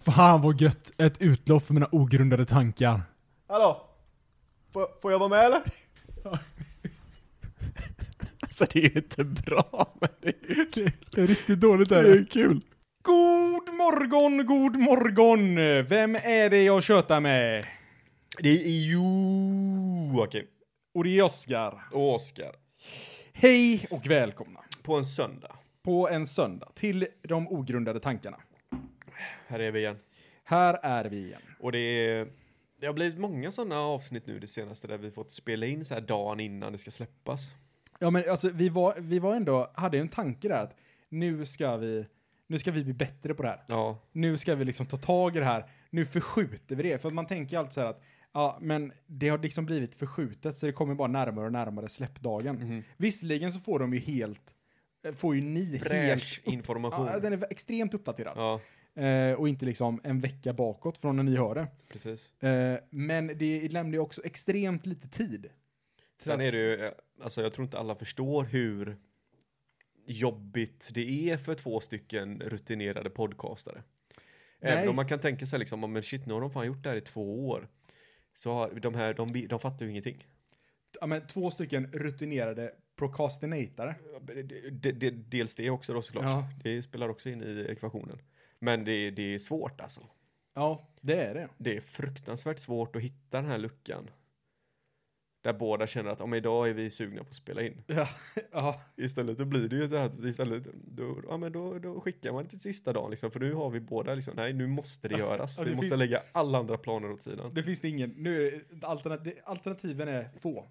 Fan vad gött! Ett utlopp för mina ogrundade tankar. Hallå? Får, får jag vara med eller? Alltså det är ju inte bra, men det är ju kul. Det är riktigt dåligt Det är ju kul. God morgon, god morgon! Vem är det jag tjötar med? Det är Joakim Och det är Oskar. och Oskar Hej och välkomna på en söndag. på en söndag till de ogrundade tankarna. Här är vi igen. Här är vi igen. Och det är... Det har blivit många sådana avsnitt nu det senaste där vi fått spela in så här dagen innan det ska släppas. Ja men alltså vi var, vi var ändå, hade en tanke där att nu ska vi, nu ska vi bli bättre på det här. Ja. nu ska vi liksom ta tag i det här, nu förskjuter vi det. För att man tänker ju alltid så här att, ja men det har liksom blivit förskjutet så det kommer bara närmare och närmare släppdagen. Mhm. Visserligen så får de ju helt, eh, får ju ni Fräsch helt... information. Ja, den är extremt uppdaterad. Ja, Eh, och inte liksom en vecka bakåt från när ni hör det. precis. Eh, men det lämnar ju också extremt lite tid. Så Sen att- är det ju, eh, alltså jag tror inte alla förstår hur jobbigt det är för två stycken rutinerade podcastare. Nej. Även om man kan tänka sig liksom, "Ja, men shit nu har de fan gjort det här i två år. Så har de här, de, vi- de fattar ju ingenting. Ja, men två stycken rutinerade procrastinatare. Det- det- det- Dels det också då såklart. Ja. Det spelar också in i ekvationen. Men det, det är svårt alltså. Ja, det är det. Det är fruktansvärt svårt att hitta den här luckan. Där båda känner att om idag är vi sugna på att spela in. Ja, ja. Istället då blir det ju det här, istället då, ja, men då, då skickar man det till sista dagen liksom, för nu har vi båda liksom, nej nu måste det göras, Ja, det vi måste finns- lägga alla andra planer åt sidan. Det finns det ingen. Nu är det, alternat- alternativen är få.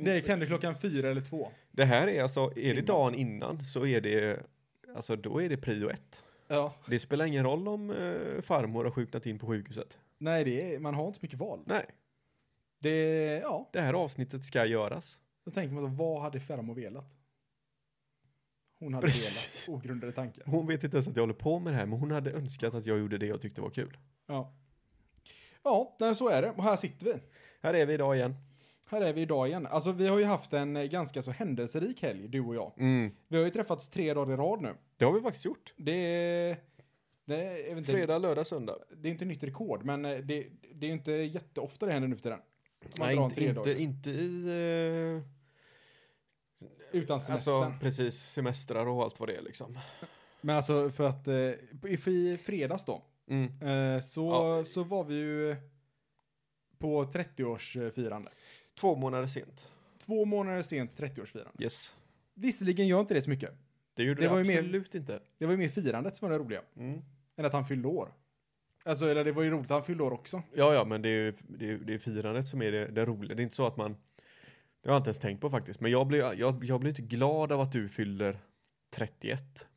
Det kan du klockan fyra eller två. Det här är alltså, är det Innan dagen innan så är det, alltså då är det prio ett. Ja. Det spelar ingen roll om eh, farmor har sjuknat in på sjukhuset. Nej, det är, man har inte så mycket val. Nej, Det, ja, det här avsnittet ska göras. då tänker man då, vad hade Fermo velat? Hon hade Precis. velat. Ogrundade tankar. Hon vet inte ens att jag håller på med det här, men hon hade önskat att jag gjorde det jag tyckte var kul. Ja. Ja, nej, så är det. Och här sitter vi. Här är vi idag igen. Här är vi idag igen. Alltså, vi har ju haft en eh, ganska så händelserik helg, du och jag. Mm. Vi har ju träffats tre dagar i rad nu. Det har vi faktiskt gjort. Det är... Det är, jag vet inte, Fredag, lördag, söndag. det är inte nytt rekord, men eh, det, det är ju inte jätteofta det händer nu för tiden. Man Nej, drar en inte, inte, tredag. inte i... eh, Utan semestern. Alltså precis, semestrar och allt vad det är liksom. Men alltså för att eh, i i fredags då, Mm. eh, så, Ja. så var vi ju på 30-årsfirande. Två månader sent. Två månader sent 30-årsfirande. Yes. Visserligen gör inte det så mycket. Det gjorde Det det, var ju mer- absolut inte. Det var ju mer firandet som var det roliga, Mm. än att han fyllde år. Alltså, eller det var ju roligt att han fyllde år också. Ja, ja, men det är ju det är, det är firandet som är det, det roliga. Det är inte så att man... Det har jag inte ens tänkt på faktiskt. Men jag blir, jag, jag blir inte glad av att du fyller 31.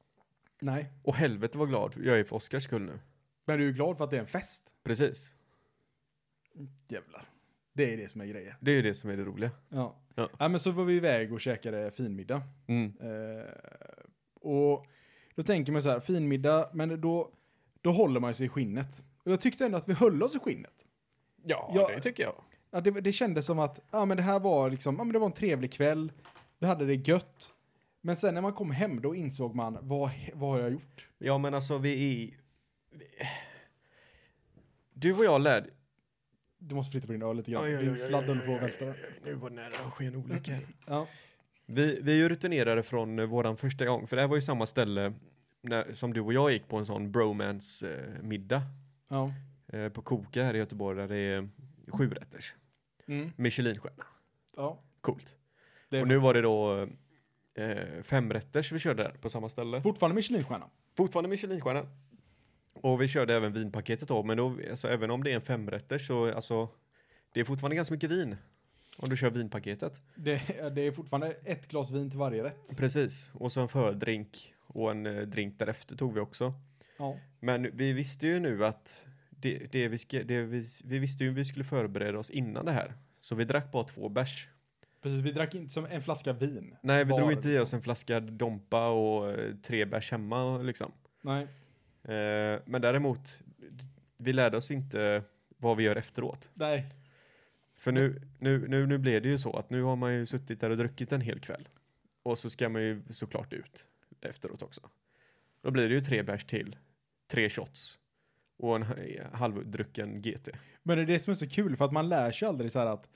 Nej. Och helvete vad glad jag är för Oskars skull nu. Men du är ju glad för att det är en fest. Precis. Jävlar. Det är det som är grejen. Det är ju det som är det roliga. Ja. Ja. ja. men så var vi iväg och käkade finmiddag. Mm. Eh, och då tänker man så här, finmiddag, men då, då håller man sig i skinnet. Och jag tyckte ändå att vi höll oss i skinnet. Ja, Ja. det tycker jag. Ja, det, det kändes som att ja, men det här var, liksom, ja, men det var en trevlig kväll, vi hade det gött. Men sen när man kom hem då insåg man, vad, vad har jag gjort? Ja, men alltså vi är... vi- Du och jag lärde... Du måste flytta på din öl lite grann, Oj, oj, oj, din oj, sladd oj, håller på oj, att välta. oj, oj, Nu var det nära att ske en olycka här. Ja. Vi, vi är ju rutinerade från eh, våran första gång, för det här var ju samma ställe när, som du och jag gick på en sån bromance-middag Ja. eh, på Koka här i Göteborg där det är sjurätters. Mm. Michelinstjärna. ja. Coolt. Det är Och nu var det då eh, femrätters vi körde där på samma ställe. Fortfarande Michelinstjärna. Fortfarande Michelinstjärna. Och vi körde även vinpaketet då, men då, alltså, även om det är en femrätters så alltså, det är fortfarande ganska mycket vin. Om du kör vinpaketet. Det, det är fortfarande ett glas vin till varje rätt. Precis. Och så en fördrink och en eh, drink därefter tog vi också. Ja. Men vi visste ju nu att det, det vi, ska, det vi, vi visste ju vi skulle förbereda oss innan det här. Så vi drack bara två bärs. Precis, vi drack inte som en flaska vin. Nej, vi Var, drog inte i liksom. oss en flaska Dompa och eh, tre bärs hemma liksom. Nej. Eh, men däremot, vi lärde oss inte vad vi gör efteråt. Nej. För nu, nu, nu, nu blev det ju så att nu har man ju suttit där och druckit en hel kväll. Och så ska man ju såklart ut efteråt också. Då blir det ju tre bärs till, tre shots och en eh, halvdrucken GT. Men det är det som är så kul för att man lär sig aldrig så här att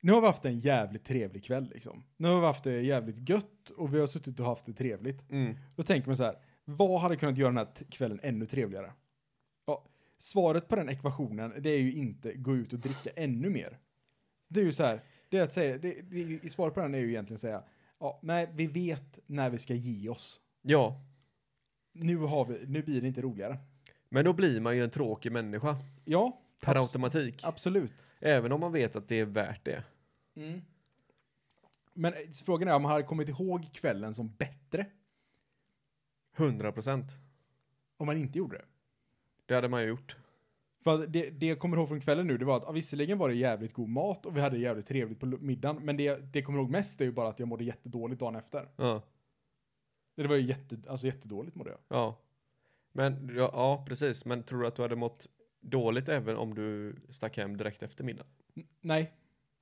nu har vi haft en jävligt trevlig kväll liksom. Nu har vi haft det jävligt gött och vi har suttit och haft det trevligt. Mm. Då tänker man så här, vad hade kunnat göra den här t- kvällen ännu trevligare? Ja, svaret på den ekvationen, det är ju inte gå ut och dricka ännu mer. Det är ju så här, det är att säga, det, det, i svaret på den är ju egentligen säga, ja, nej, vi vet när vi ska ge oss. Ja, Nu har vi, nu blir det inte roligare. men då blir man ju en tråkig människa Ja, per abs- automatik. absolut. Även om man vet att det är värt det. Men eh, frågan är om han hade kommit ihåg kvällen som bättre 100 procent. om man inte gjorde det. Det hade man ju gjort. För att det, det jag kommer ihåg från kvällen nu, det var att ja, visserligen var det jävligt god mat och vi hade jävligt trevligt på lu- middagen, men det, det jag kommer ihåg mest är ju bara att jag mådde jättedåligt dagen efter. Ja, Det var ju jätte, alltså jättedåligt mådde jag. ja. Men, ja, ja, precis. Men tror du att du hade mått dåligt även om du stack hem direkt efter middagen? N- Nej,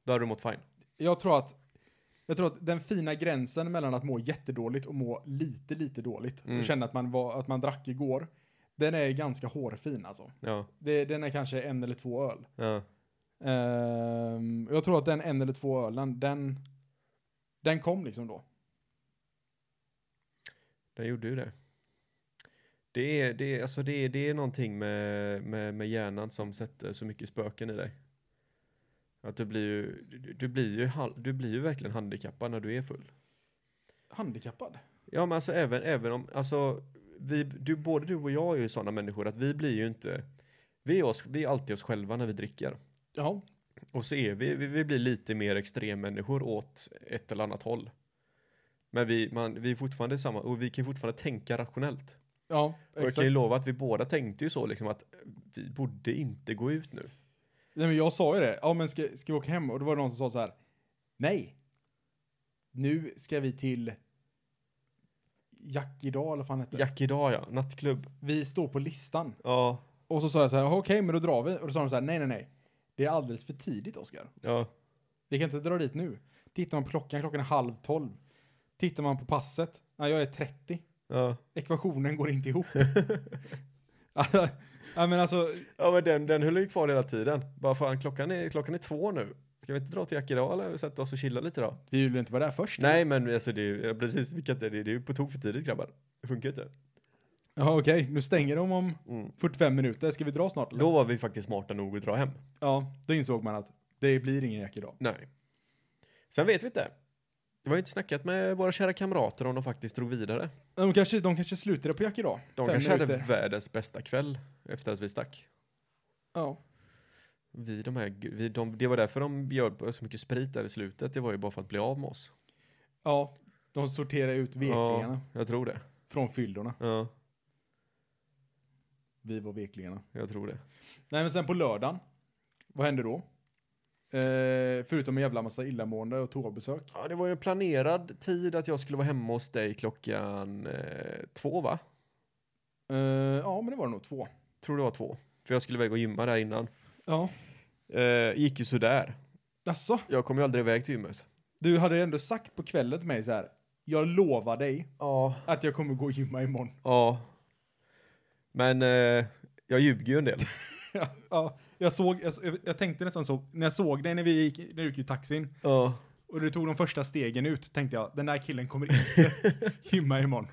Då hade du mått fine. jag tror att jag tror att den fina gränsen mellan att må jättedåligt och må lite, lite dåligt Mm. och känna att man, var, att man drack igår, den är ganska hårfin alltså. Ja, Det, den är kanske en eller två öl. ja. Ehm, jag tror att den en eller två ölen, den, den kom liksom då. Den gjorde ju det. Det är, det är, alltså det är, det är någonting med, med, med hjärnan som sätter så mycket spöken i dig. Att du blir ju, du, du blir ju, hal- du blir ju verkligen handikappad när du är full. Handikappad? Ja men alltså även, även om, alltså vi, du, både du och jag är ju sådana människor att vi blir ju inte, vi är, oss, vi är alltid oss själva när vi dricker. Ja. Och så är vi, vi, vi blir lite mer extremmänniskor åt ett eller annat håll. Men vi, man, vi är fortfarande samma, och vi kan ju fortfarande tänka rationellt. Ja, Och jag exakt. kan ju lova att vi båda tänkte ju så liksom att vi borde inte gå ut nu. Nej, men jag sa ju det. Ja, men ska, ska vi åka hem? Och då var det någon som sa så här. Nej. Nu ska vi till Jackidal, eller vad fan hette det? Jack idag ja, nattklubb. Vi står på listan. Ja, Och så sa jag så här, okej, men då drar vi. Och då sa de så här, nej, nej, nej. Det är alldeles för tidigt, Oskar. ja, Vi kan inte dra dit nu. Tittar man på klockan, klockan är halv tolv. Tittar man på passet, nej, jag är 30. ja. ekvationen går inte ihop. alltså, ja, men alltså, Ja men den, den höll ju kvar hela tiden. Bara fan klockan är, klockan är två nu. Ska vi inte dra till Jack idag eller sätta oss och chilla lite då? vi vill inte vara där först. Nej men alltså det är ju, ja, precis, vi kan inte, det är det är ju på tok för tidigt grabbar. Det funkar ju inte. Ja, okej, nu stänger de om Mm. 45 minuter. Ska vi dra snart? Eller? Då var vi faktiskt smarta nog att dra hem. Ja, då insåg man att det blir ingen jack idag. Nej. Sen vet vi inte. Vi har ju inte snackat med våra kära kamrater om de faktiskt drog vidare. De kanske, de kanske slutade på jack idag. De Fem kanske hade minuter. världens bästa kväll efter att vi stack. Ja. Vi, de här, vi, de, det var därför de bjöd på så mycket sprit där i slutet. Det var ju bara för att bli av med oss. ja, de sorterar ut veklingarna Jag tror det. från fyllorna. Ja, Vi var veklingarna. jag tror det. Nej, men sen på lördagen, vad hände då? Eh, förutom en jävla massa illamående och toabesök. Ja, det var ju en planerad tid att jag skulle vara hemma hos dig klockan eh, två, va? Eh, ja, men det var det nog två. Tror det var två. För jag skulle iväg och gymma där innan. Ja. Eh, gick ju sådär. Alltså, Jag kom ju aldrig iväg till gymmet. Du hade ändå sagt på kvällen till mig så här. Jag lovar dig Ja. att jag kommer gå och gymma imorgon. Ja. Men eh, jag ljuger ju en del. ja, jag såg, jag, jag tänkte nästan så, när jag såg dig när vi gick, när du gick i taxin Ja. och du tog de första stegen ut, tänkte jag, den där killen kommer inte gymma imorgon.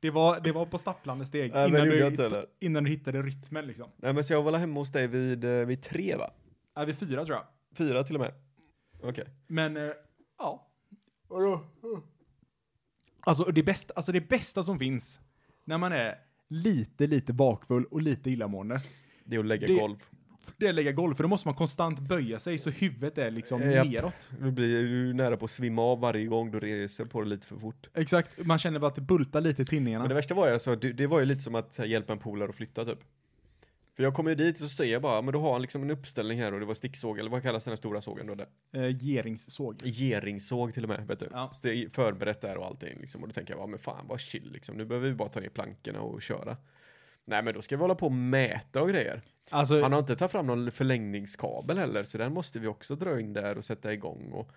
Det var, det var på stapplande steg Nej, men innan, det gjorde du, jag inte heller. innan du hittade rytmen liksom. Nej, men så jag var väl hemma hos dig vid, eh, vid tre, va? Äh, vid fyra tror jag. Fyra till och med. Okej. Men, eh, ja. Alltså det, bästa, alltså det bästa som finns när man är lite, lite bakfull och lite illamående, Det är att lägga Det- golv. det är att lägga golv, för då måste man konstant böja sig så huvudet är liksom Japp. neråt. Nu blir du nära på att svimma av varje gång du reser på det lite för fort. Exakt, man känner bara att det bultar lite i tinningarna. Men det värsta var ju alltså, det, det var ju lite som att så här, hjälpa en polare att flytta typ. För jag kommer ju dit och så säger jag bara, men då har han liksom en uppställning här och det var sticksåg, eller vad kallas den här stora sågen då? Där? Eh, geringssåg. Geringssåg till och med, vet du. Ja. Så det är förberett där och allting liksom. Och då tänker jag, ja men fan vad chill liksom, nu behöver vi bara ta ner plankorna och köra. Nej men då ska vi hålla på och mäta och grejer. Alltså, Han har inte tagit fram någon förlängningskabel heller, så den måste vi också dra in där och sätta igång. Och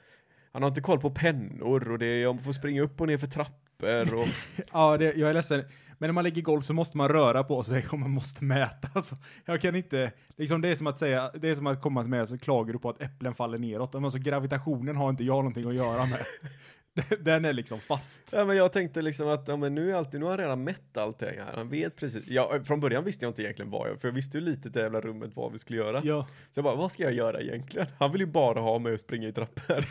han har inte koll på pennor och det, jag får springa upp och ner för trappor papper och... Ja, det, jag är ledsen. Men när man lägger golv så måste man röra på sig och man måste mäta. Så jag kan inte, liksom det är som att säga, det är som att komma med så klagar du på att äpplen faller neråt. Men Alltså gravitationen har inte jag någonting att göra med. Den- Den är liksom fast. Ja, men jag tänkte liksom att ja, men nu, är alltid, nu har han redan mätt allting. här. Han vet precis. Ja, från början visste jag inte egentligen vad jag... För jag visste ju lite i det jävla rummet vad vi skulle göra. Ja, Så jag bara, vad ska jag göra egentligen? Han vill ju bara ha mig att springa i trappor.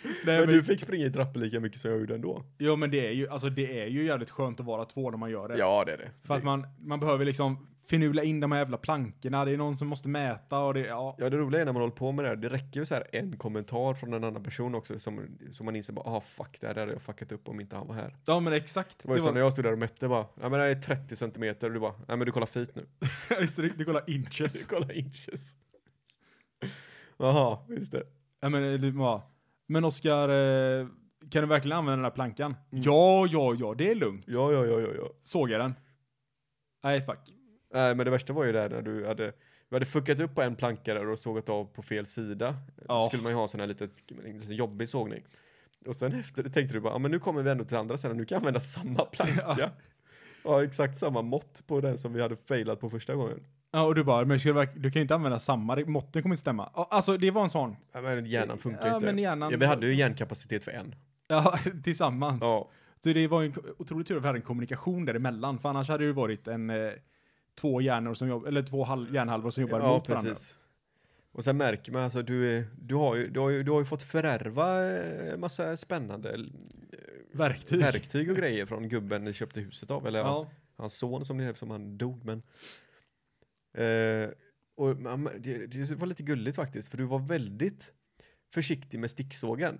nej, men, men, du fick springa i trappor lika mycket som jag gjorde ändå. ja, men det är ju, alltså det är ju jävligt skönt att vara två när man gör det. Ja, det är det. För att man, man behöver liksom finula in de här jävla plankorna. Det är någon som måste mäta och det, ja. Ja, det roliga är när man håller på med det här, det räcker ju så här en kommentar från en annan person också som, som man inser bara, ah fuck, det här hade jag fuckat upp om inte han var här. Ja, men exakt. Det var ju som när jag stod där och mätte bara, nej men det här är 30 centimeter och du bara, nej men du kollar feet nu. just det, du kollar Du inches. kollar inches. Jaha, just det. Ja, men, eller, ja. men Oskar, eh, kan du verkligen använda den här plankan? Mm. Ja, ja, ja, det är lugnt. Ja, ja, ja, ja, ja. Såg jag den? Nej, fuck. Nej, men det värsta var ju där när du hade, vi hade fuckat upp på en planka där och sågat av på fel sida. Ja. Då skulle man ju ha sån här litet, en liten jobbig sågning. Och sen efter det tänkte du bara, ja men nu kommer vi ändå till andra sidan, nu kan jag använda samma planka. Ja. Ja. exakt samma mått på den som vi hade failat på första gången. Ja, och du bara, men ska du, verk- du kan ju inte använda samma, det- måtten kommer inte stämma. Ja, Alltså, det var en sån. Ja, men hjärnan funkar Ja, inte. men hjärnan- Ja, vi hade ju hjärnkapacitet för en. Ja, tillsammans. Ja, Så det var ju en ko- otroligt tur att vi hade en kommunikation däremellan, för annars hade det ju varit en eh, två hjärnor som jobb, eller två halv, hjärnhalvor som jobbar ja mot varandra. precis. Och sen märker man alltså, du, är- du, har ju, du, har ju, du har ju fått förärva eh, massa spännande Verktyg. verktyg och grejer från gubben ni köpte huset av. Eller Ja. hans son som, ni- som han dog men. Eh, och man, det, det var lite gulligt faktiskt för du var väldigt försiktig med sticksågen.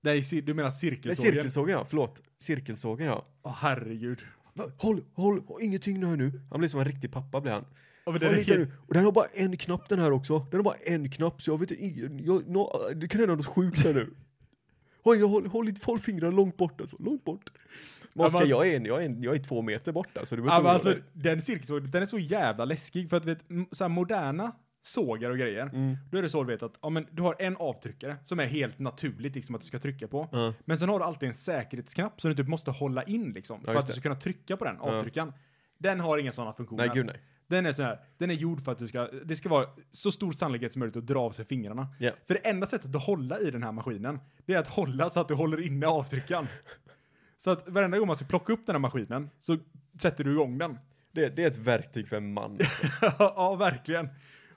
Nej, cir- du menar Nej, cirkelsågen? cirkelsågen ja, förlåt. Cirkelsågen ja. Åh, herregud. Va, Håll, håll, håll, ingenting nu här nu. Han blir som en riktig pappa blir han. Ja, men det Håll lite räcker. nu. Och den har bara en knapp den här också. Den har bara en knapp så jag vet inte, jag, nå- det kan hända något sjukt här nu. Håll, håll, håll, inte- håll fingrarna långt bort alltså, långt bort. Men Ja, Oskar, men- jag, är, en- jag, är, en- jag är två meter borta så du Ja, men behöver inte alltså, oroa dig. den cirkelsågen, den är så jävla läskig för att vet, m- så här moderna sågar och grejer, Mm. då är det så du vet att ja, men du har en avtryckare som är helt naturligt liksom att du ska trycka på. Ja. Men sen har du alltid en säkerhetsknapp som du typ måste hålla in liksom för just att du det. ska kunna trycka på den avtryckaren. Den har inga sådana funktioner. Nej, gud nej. Den är så här, den är gjord för att du ska, det ska vara så stor sannolikhet som möjligt att dra av sig fingrarna. Ja. För det enda sättet att hålla i den här maskinen, det är att hålla så att du håller inne avtryckaren. så att varenda gång man ska plocka upp den här maskinen så sätter du igång den. Det, det är ett verktyg för en man. ja, verkligen.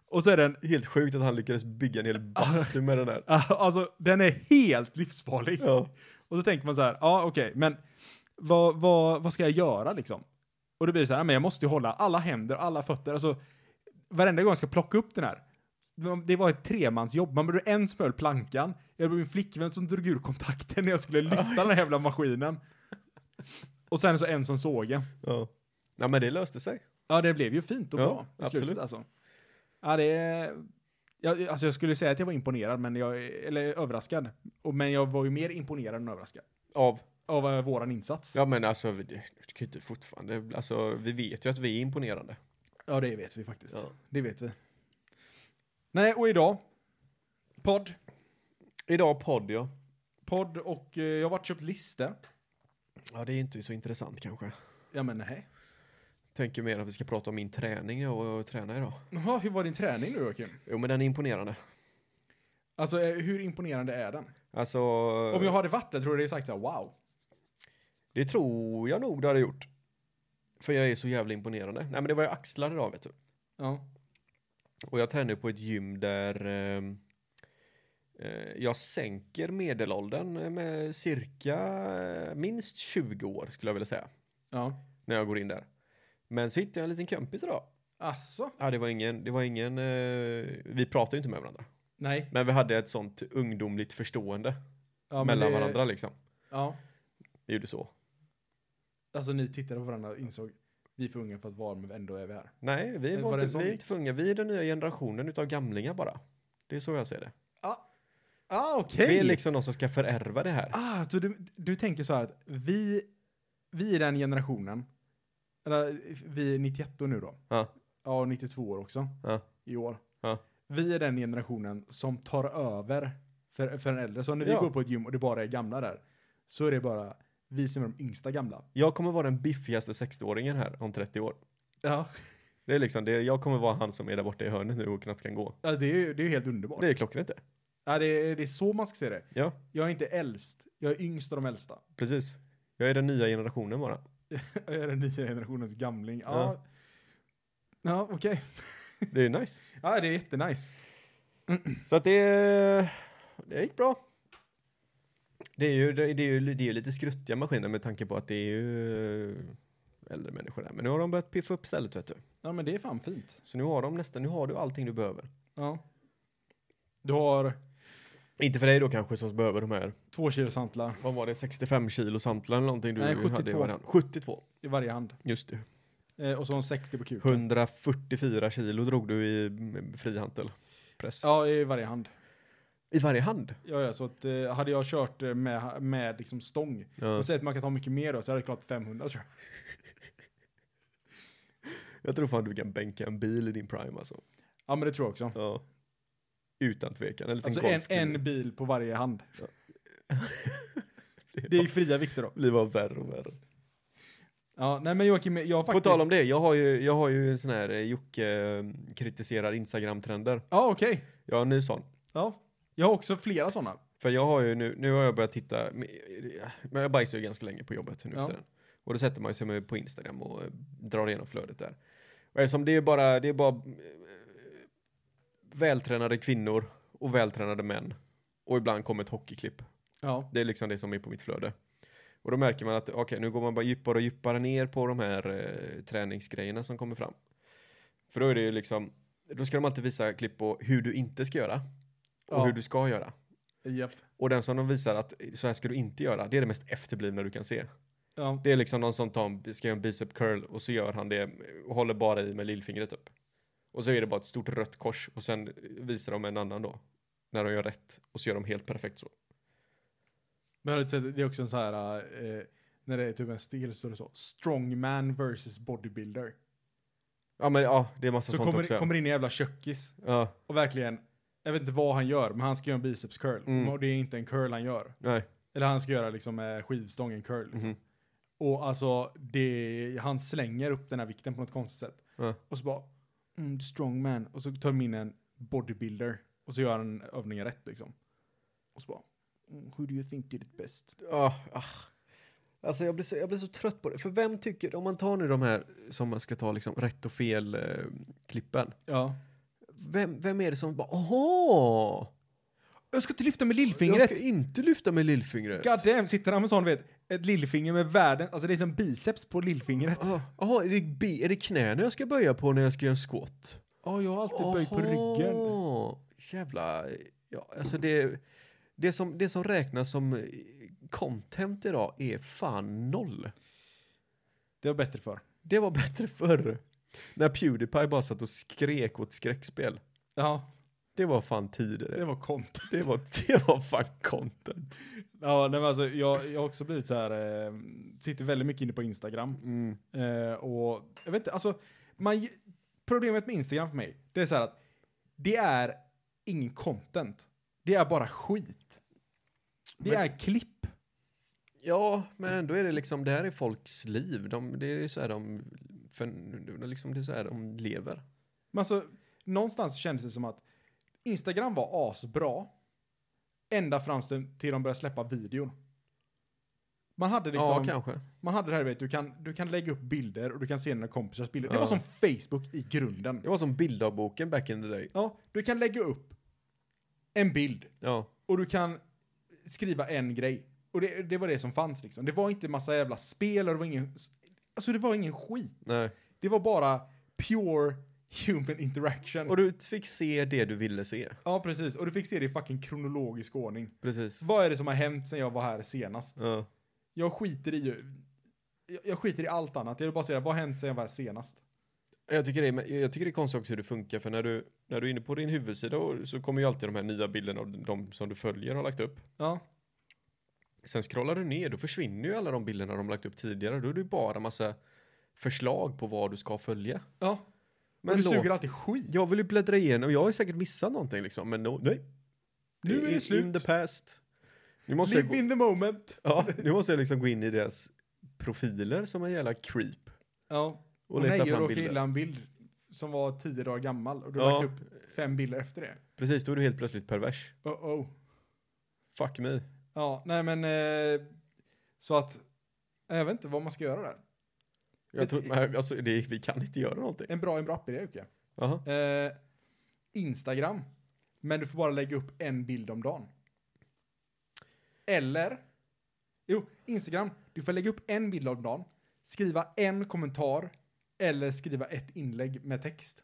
Och så är den, Helt sjukt att han lyckades bygga en hel bastu med den där. alltså den är helt livsfarlig. Ja. Och då tänker man så här, ja okej, men vad, vad, vad ska jag göra liksom? Och då blir det så här, men jag måste ju hålla alla händer, alla fötter, alltså varenda gång jag ska plocka upp den här. Det var ett tremansjobb, man behövde en som höll plankan, jag behövde min flickvän som drog ur kontakten när jag skulle lyfta den här jävla maskinen. Och sen så en som såg jag. ja. Ja, men det löste sig. Ja, det blev ju fint och Ja, bra i slutet absolut. alltså. Ja, det är... Jag, alltså jag skulle säga att jag var imponerad, men jag, eller överraskad. Och, men jag var ju mer imponerad än överraskad Av? av eh, våran insats. Ja, men alltså, vi, det, det kan ju inte fortfarande, alltså, vi vet ju att vi är imponerande. Ja, det vet vi faktiskt. Ja. Det vet vi. Nej, och idag. Podd. Idag podd, ja. Podd och eh, jag har varit och köpt listor. Ja, det är inte så intressant kanske. Ja, men nej. Tänker mer att vi ska prata om min träning och, och träna idag. Jaha, hur var din träning nu Joakim? Jo, men den är imponerande. Alltså, eh, hur imponerande är den? Alltså, Om jag hade varit där tror jag det är sagt så här, wow. det tror jag nog du hade gjort. För jag är så jävla imponerande. Nej, men det var ju axlar idag, vet du. Ja. Och jag tränar ju på ett gym där ehm, eh, jag sänker medelåldern med cirka eh, minst 20 år skulle jag vilja säga. Ja. När jag går in där. Men så hittade jag en liten kompis idag. Alltså? Ja, det var ingen, det var ingen, eh, vi pratade ju inte med varandra. Nej. Men vi hade ett sånt ungdomligt förstående Ja, men mellan det- varandra liksom. Ja. Vi gjorde så. Alltså ni tittade på varandra och insåg vi är för unga för att vara men ändå är vi här. Nej, vi, Men var var det en inte, sån vi är mix? inte funga. Vi är den nya generationen utav gamlingar bara. Det är så jag ser det. Ah okej! Vi är liksom de som ska förärva det här. Ah, så du, du tänker så här att vi, vi är den generationen, eller vi är 91 år nu då, Ja, ja och 92 år också ja, i år. ja. Vi är den generationen som tar över för, för en äldre. Så när vi Ja. går på ett gym och det bara är gamla där, så är det bara vi som är de yngsta gamla. Jag kommer vara den biffigaste 60-åringen här om 30 år. Ja. Det är liksom det, jag kommer vara han som är där borta i hörnet nu och knappt kan gå. Ja, det är ju det är ju helt underbart. Det är klockrent det. Ja, det, är, det är så man ska se det. Ja, Jag är inte äldst, jag är yngst av de äldsta. precis. Jag är den nya generationen bara. Jag är den nya generationens gamling. Ja, Ja. ja. okej. Det är nice. Ja, det är jättenice. Så att det, det gick bra. Det är ju, det är ju, det är ju lite skruttiga maskiner med tanke på att det är ju äldre människor där. Men nu har de börjat piffa upp stället vet du. Ja, men det är fan fint. Så nu har de nästan, nu har du allting du behöver. Ja. Du har Inte för dig då kanske som behöver de här, två kilo santlar vad var det, 65 kilo santlar eller någonting du Nej, hade i 72. variant? 72. i varje hand. Just det. Eh, och så har hon 60 på kuken. 144 kilo drog du i mm, frihantel. Press. Ja, i varje hand. I varje hand. Ja, ja, så att, eh, hade jag kört eh, med, med liksom stång, Ja. och säger att man kan ta mycket mer då, så hade jag klarat 500 tror jag. Jag tror fan du kan bänka en bil i din prime alltså. Ja, men det tror jag också. Ja. Utan tvekan. En liten Alltså en, golf. en bil på varje hand. Ja. Det är fria vikter då. blir bara värre och värre. Ja, nej men Joakim, jag har faktiskt... På tal om det, jag har ju, jag har ju en sån här eh, Jocke eh, kritiserar Instagram-trender. Ja, okej. Jag har en ny sån. Ja. Jag har också flera sådana. För jag har ju nu, nu har jag börjat titta, men men jag bajsar ju ganska länge på jobbet nu Ja. för tiden. Och då sätter man ju sig med på Instagram och eh, drar igenom flödet där. Och eftersom det är bara, det är bara eh, vältränade kvinnor och vältränade män. Och ibland kommer ett hockeyklipp. Ja. Det är liksom det som är på mitt flöde. Och då märker man att okej, nu går man bara djupare och djupare ner på de här eh, träningsgrejerna som kommer fram. För då är det ju liksom, då ska de alltid visa klipp på hur du inte ska göra och Ja. hur du ska göra. Japp. Och den som de visar att så här ska du inte göra, det är det mest efterblivna du kan se. Ja. Det är liksom någon som tar en, ska göra en bicep curl och så gör han det och håller bara i med lillfingret upp. Och så är det bara ett stort rött kors och sen visar de en annan då. När de gör rätt och så gör de helt perfekt så. Men har du sett, det är också en så här, eh, när det är typ en stil så är det så, strongman versus bodybuilder. Ja men ja, det är massa Så sånt kommer, också. det- ja. kommer det in en jävla kökis Ja, och verkligen, jag vet inte vad han gör, men han ska göra en biceps curl. Mm. Och det är inte en curl han gör. nej. Eller han ska göra liksom eh, skivstången curl. liksom. mhm. Och alltså, det, han slänger upp den här vikten på något konstigt sätt. Ja. Och så bara, mm, strongman. Och så tar de in en bodybuilder. Och så gör han övningen rätt liksom. Och så bara, mm, who do you think did it best? Ah, ah. Alltså jag blir, så, jag blir så trött på det. För vem tycker, om man tar nu de här som man ska ta liksom rätt och fel eh, klippen. Ja. Vem, vem är det som bara, åhå! Jag ska inte lyfta med Jag lillfingret! ska inte lyfta med lillfingret. God damn, sitter han med sån, vet, ett lillfinger med världen, alltså det är som biceps på lillfingret. Jaha, är, det be- är det knäna jag ska böja på när jag ska göra en squat? Ja, jag har alltid böjt på ryggen. Åhå, Jävla, ja, alltså det, det, som, det som räknas som eh, content idag är fan noll. Det var bättre för. Det var bättre förr. När Pewdiepie bara satt och skrek åt skräckspel. Ja, Det var fan tider det det. var konta. Det var, det var fan content. Ja, nej, men alltså, jag, jag har också blivit så här, eh, sitter väldigt mycket inne på Instagram. Mm. Eh, och jag vet inte, alltså, man, problemet med Instagram för mig, det är så här att det är ingen content. Det är bara skit. Det Men- är klipp. Ja, men ändå är det liksom, det här är folks liv. De, det är så här de, för, liksom, det är så här de lever. Men alltså, någonstans kändes det som att Instagram var asbra. Ända fram till till de började släppa videon. Man hade liksom... ja, kanske. Man hade det här, vet, du, kan, du kan lägga upp bilder och du kan se dina kompisars bilder. Det Ja. var som Facebook i grunden. Det var som bildavboken back in the day. Ja, du kan lägga upp en bild Ja, och du kan skriva en grej. Och det, det var det som fanns liksom. Det var inte massa jävla spel och det var ingen... Alltså det var ingen skit. nej. Det var bara pure human interaction. Och du fick se det du ville se. ja, precis. Och du fick se det i fucking kronologisk ordning. Precis. Vad är det som har hänt sen jag var här senast? Ja. Jag skiter i ju... Jag, jag skiter i allt annat. Jag vill bara säga, vad har hänt sen jag var här senast? Jag tycker, det är, men jag tycker det är konstigt också hur det funkar, för när du, när du är inne på din huvudsida och- så kommer ju alltid de här nya bilderna av de som du följer har lagt upp. Ja. Sen scrollar du ner, då försvinner ju alla de bilderna de lagt upp tidigare. Då är det ju bara massa förslag på vad du ska följa. Ja. Men Men och du låt- suger alltid skit. Jag vill ju bläddra igenom, jag har ju säkert missat någonting liksom, men no, nej. Nu är det In- In slut. the past. Nu måste, jag, Live gå- in the moment. ja, nu måste jag liksom gå in i deras profiler som en jävla creep. Ja. Och, Och leta nej, jag fram råkade bilder. gilla en bild som var tio dagar gammal och du Ja. lagt upp fem bilder efter det. Precis, då är du helt plötsligt pervers. Oh, oh. Fuck me. Ja, nej men eh, så att jag vet inte vad man ska göra där. Men- Jag tror, men, alltså, det, vi kan inte göra någonting. En bra, en bra app-idé tycker Jaha. jag. Eh, Instagram. Men du får bara lägga upp en bild om dagen. Eller, jo, Instagram. Du får lägga upp en bild om dagen, skriva en kommentar eller skriva ett inlägg med text.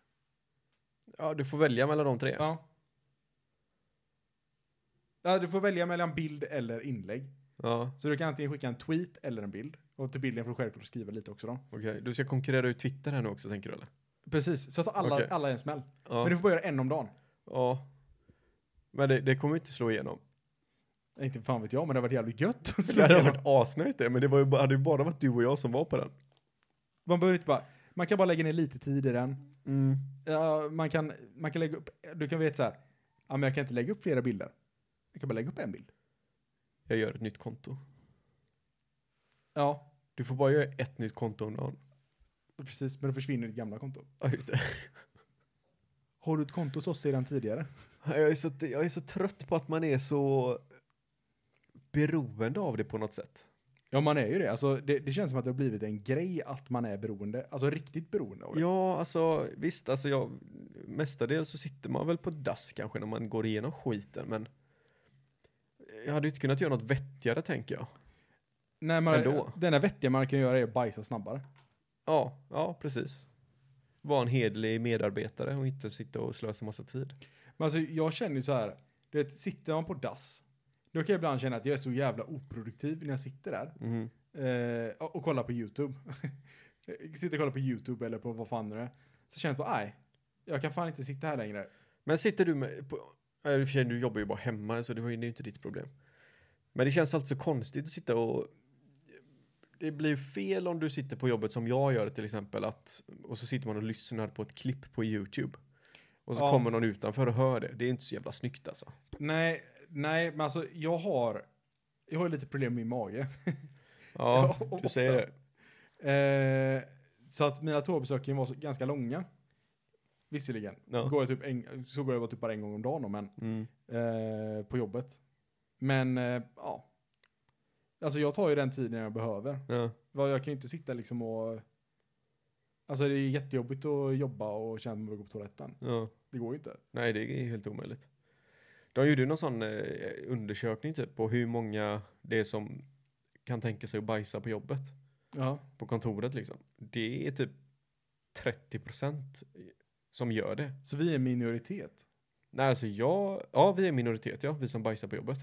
Ja, du får välja mellan de tre. Ja. ja. Du får välja mellan bild eller inlägg. Ja, Så du kan antingen skicka en tweet eller en bild. Och till bilden får du självklart skriva lite också då. okej. Du ska konkurrera ut Twitter här nu också, tänker du eller? Precis, så att alla, Okej. alla är en smäll. Ja. Men Men, du får bara göra en om dagen. ja. men det, det kommer ju inte slå igenom. Inte fan vet jag, men det var jävligt gött. att Det slå hade igenom. varit asnice det, men det var ju bara, hade ju bara varit du och jag som var på den. Man behöver inte bara, man kan bara lägga ner lite tid i den. Mm. Ja, man, kan, man kan lägga upp, du kan veta så här, ja men jag kan inte lägga upp flera bilder. Jag kan bara lägga upp en bild. Jag gör ett nytt konto. Ja, Du får bara göra ett nytt konto om dagen. precis, men då försvinner ditt gamla konto. Ja, just det. Har du ett konto hos oss sedan tidigare? Jag är, så, jag är så trött på att man är så beroende av det på något sätt. Ja, man är ju det. Alltså, det, det känns som att det har blivit en grej att man är beroende, alltså riktigt beroende av det. Ja, alltså visst, alltså jag, mestadels så sitter man väl på dass kanske när man går igenom skiten, men jag hade ju inte kunnat göra något vettigare tänker jag. Nej, man, Ändå. den enda vettiga man kan göra är att bajsa snabbare. Ja, ja, precis. Vara en hederlig medarbetare och inte sitta och slösa massa tid. Men alltså jag känner ju så här, du vet, sitter man på dass, då kan jag ibland känna att jag är så jävla oproduktiv när jag sitter där Mhm. eh, och, och kollar på YouTube. sitter och kollar på YouTube eller på vad fan det är. Så känner jag att, nej, jag kan fan inte sitta här längre. Men sitter du med, på, ja, i och för sig, du jobbar ju bara hemma så det var ju det är ju inte ditt problem. Men det känns alltså konstigt att sitta och det blir ju fel om du sitter på jobbet som jag gör till exempel att och så sitter man och lyssnar på ett klipp på Youtube. Och så Ja. kommer någon utanför och hör det. Det är inte så jävla snyggt alltså. Nej, nej, men alltså jag har, jag har ju lite problem med min mage. Ja, Ja, du ofta. säger det. Eh, så att mina toabesök kan ju vara så, ganska långa. Visserligen. Ja. Går jag typ en, så går jag bara typ bara en gång om dagen då, men Mm. eh, på jobbet. Men eh, ja. Alltså jag tar ju den tiden jag behöver. Ja. Vad- Jag kan ju inte sitta liksom och... Alltså det är jättejobbigt att jobba och känna att man behöver gå på toaletten. Ja. Det går ju inte. Nej, det är helt omöjligt. De gjorde ju någon sån eh, undersökning typ på hur många det är som kan tänka sig att bajsa på jobbet. Ja. på kontoret liksom. Det är typ 30 procent som gör det. Så vi är en minoritet. Nej, alltså jag, ja vi är minoritet ja, vi som bajsar på jobbet.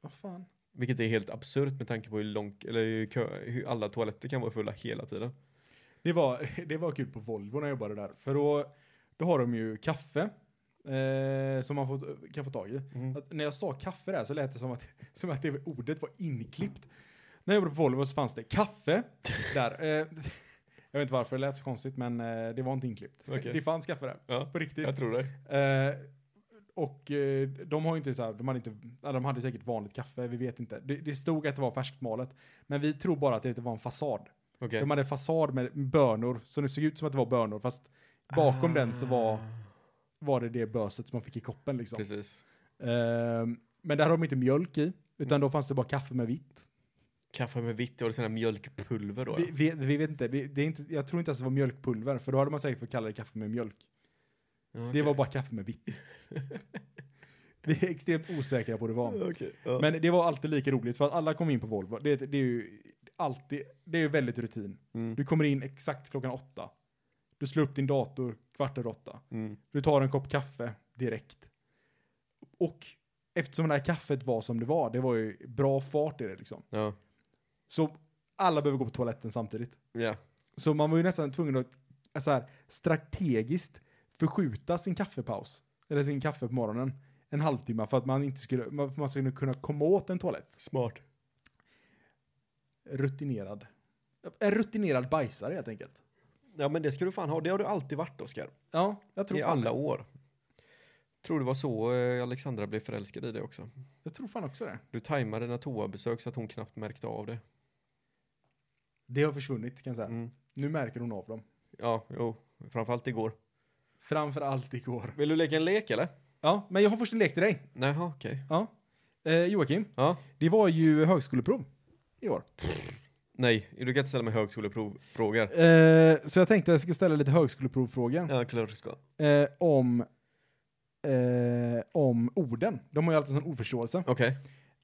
Vad fan? Vilket är helt absurt med tanke på hur långt, eller hur, kö, hur alla toaletter kan vara fulla hela tiden. Det var, det var kul på Volvo när jag jobbade där. För då, då har de ju kaffe. Eh, som man får, kan få tag i. Att när jag sa kaffe där så lät det som att, som att det ordet var inklippt. När jag jobbade på Volvo så fanns det kaffe där. Eh, jag vet inte varför det lät så konstigt men eh, det var inte inklippt. Okej. Det fanns kaffe där. Ja, På riktigt. jag tror det. Eh, och eh, de har ju inte så här, de hade inte, ja, de hade säkert vanligt kaffe, vi vet inte. Det, det stod att det var färskmalet. Men vi tror bara att det var en fasad. Okej. De hade fasad med bönor, så det såg ut som att det var bönor. Fast bakom den så var, var det det böset som man fick i koppen liksom. Ah. Precis. Ehm, men där har de inte mjölk i, Mm. utan då fanns det bara kaffe med vitt. Kaffe med vitt, och sån här mjölkpulver då? Vi, vi, vi vet inte, det, det är inte, jag tror inte ens det var mjölkpulver, för då hade man säkert fått kalla det kaffe med mjölk. ja. Det var bara kaffe med vitt. vi är extremt osäkra på det var. Men det var alltid lika roligt för att alla kom in på Volvo. Det, det är ju alltid, det är ju väldigt rutin. Mm. Du kommer in exakt klockan åtta. Du slår upp din dator kvart över åtta. Mm. Du tar en kopp kaffe direkt. Och eftersom det här kaffet var som det var, det var ju bra fart i det liksom. Ja. Så alla behöver gå på toaletten samtidigt. ja. Så man var ju nästan tvungen att äh, så här, strategiskt förskjuta sin kaffepaus. Eller sin kaffe på morgonen. En halvtimme för att man inte skulle, man- för man skulle kunna komma åt en toalett. Smart. Rutinerad. En rutinerad bajsare helt enkelt. Ja men det ska du fan ha, det har du alltid varit Oskar. Ja, jag tror I fan alla det. år. Tror det var så eh, Alexandra blev förälskad i dig också. Jag tror fan också det. Du tajmade dina toabesök så att hon knappt märkte av det. Det har försvunnit kan jag säga. Mm. Nu märker hon av dem. Ja, jo. Framförallt igår. Framför allt igår. Vill du leka en lek eller? Ja, men jag har först en lek till dig. Jaha, okej. Ja. Eh, Joakim, Ja. det var ju högskoleprov i år. Nej, du kan inte ställa mig högskoleprovfrågor. Eh, så jag tänkte jag ska ställa lite högskoleprovfrågor. Ja, klart du ska. eh, om, eh, om orden. De har ju alltid sån ordförståelse. Okej.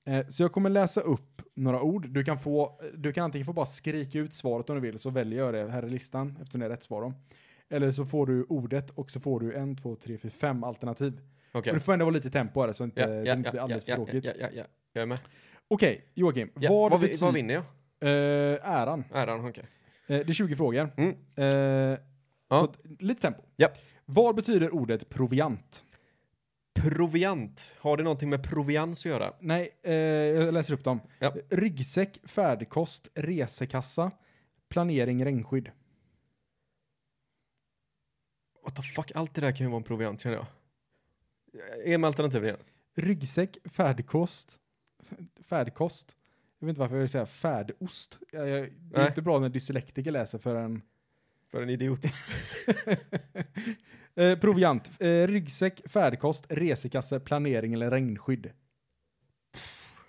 Eh, så jag kommer läsa upp några ord. Du kan, få, du kan antingen få bara skrika ut svaret om du vill, så väljer jag det här i listan eftersom det är rätt svar då. Eller så får du ordet och så får du en, två, tre, fyra, fem alternativ. Okej. Men det får ändå vara lite tempo här så inte, Ja, så ja, det inte ja, blir alldeles ja, för ja, tråkigt. Ja, ja, ja. Jag är med. Okej, Joakim. Ja. Vad, Vad, vi- betyder... vad vinner jag? Eh, äran. Äran, okej. Eh, det är 20 frågor. Mm. Eh, Ja. Så att- lite tempo. Ja. Vad betyder ordet proviant? Proviant. Har det någonting med provians att göra? Nej, eh, jag läser upp dem. Ja. Ryggsäck, färdkost, resekassa, planering, regnskydd. What the fuck, allt det där kan ju vara en proviant känner jag. Ge mig alternativen igen. Ryggsäck, färdkost, färdkost. Jag vet inte varför jag vill säga färdost. Jag, jag, det är Nej. inte bra när dyslektiker läser för en... För en idiot. eh, proviant, eh, ryggsäck, färdkost, resekasse, planering eller regnskydd.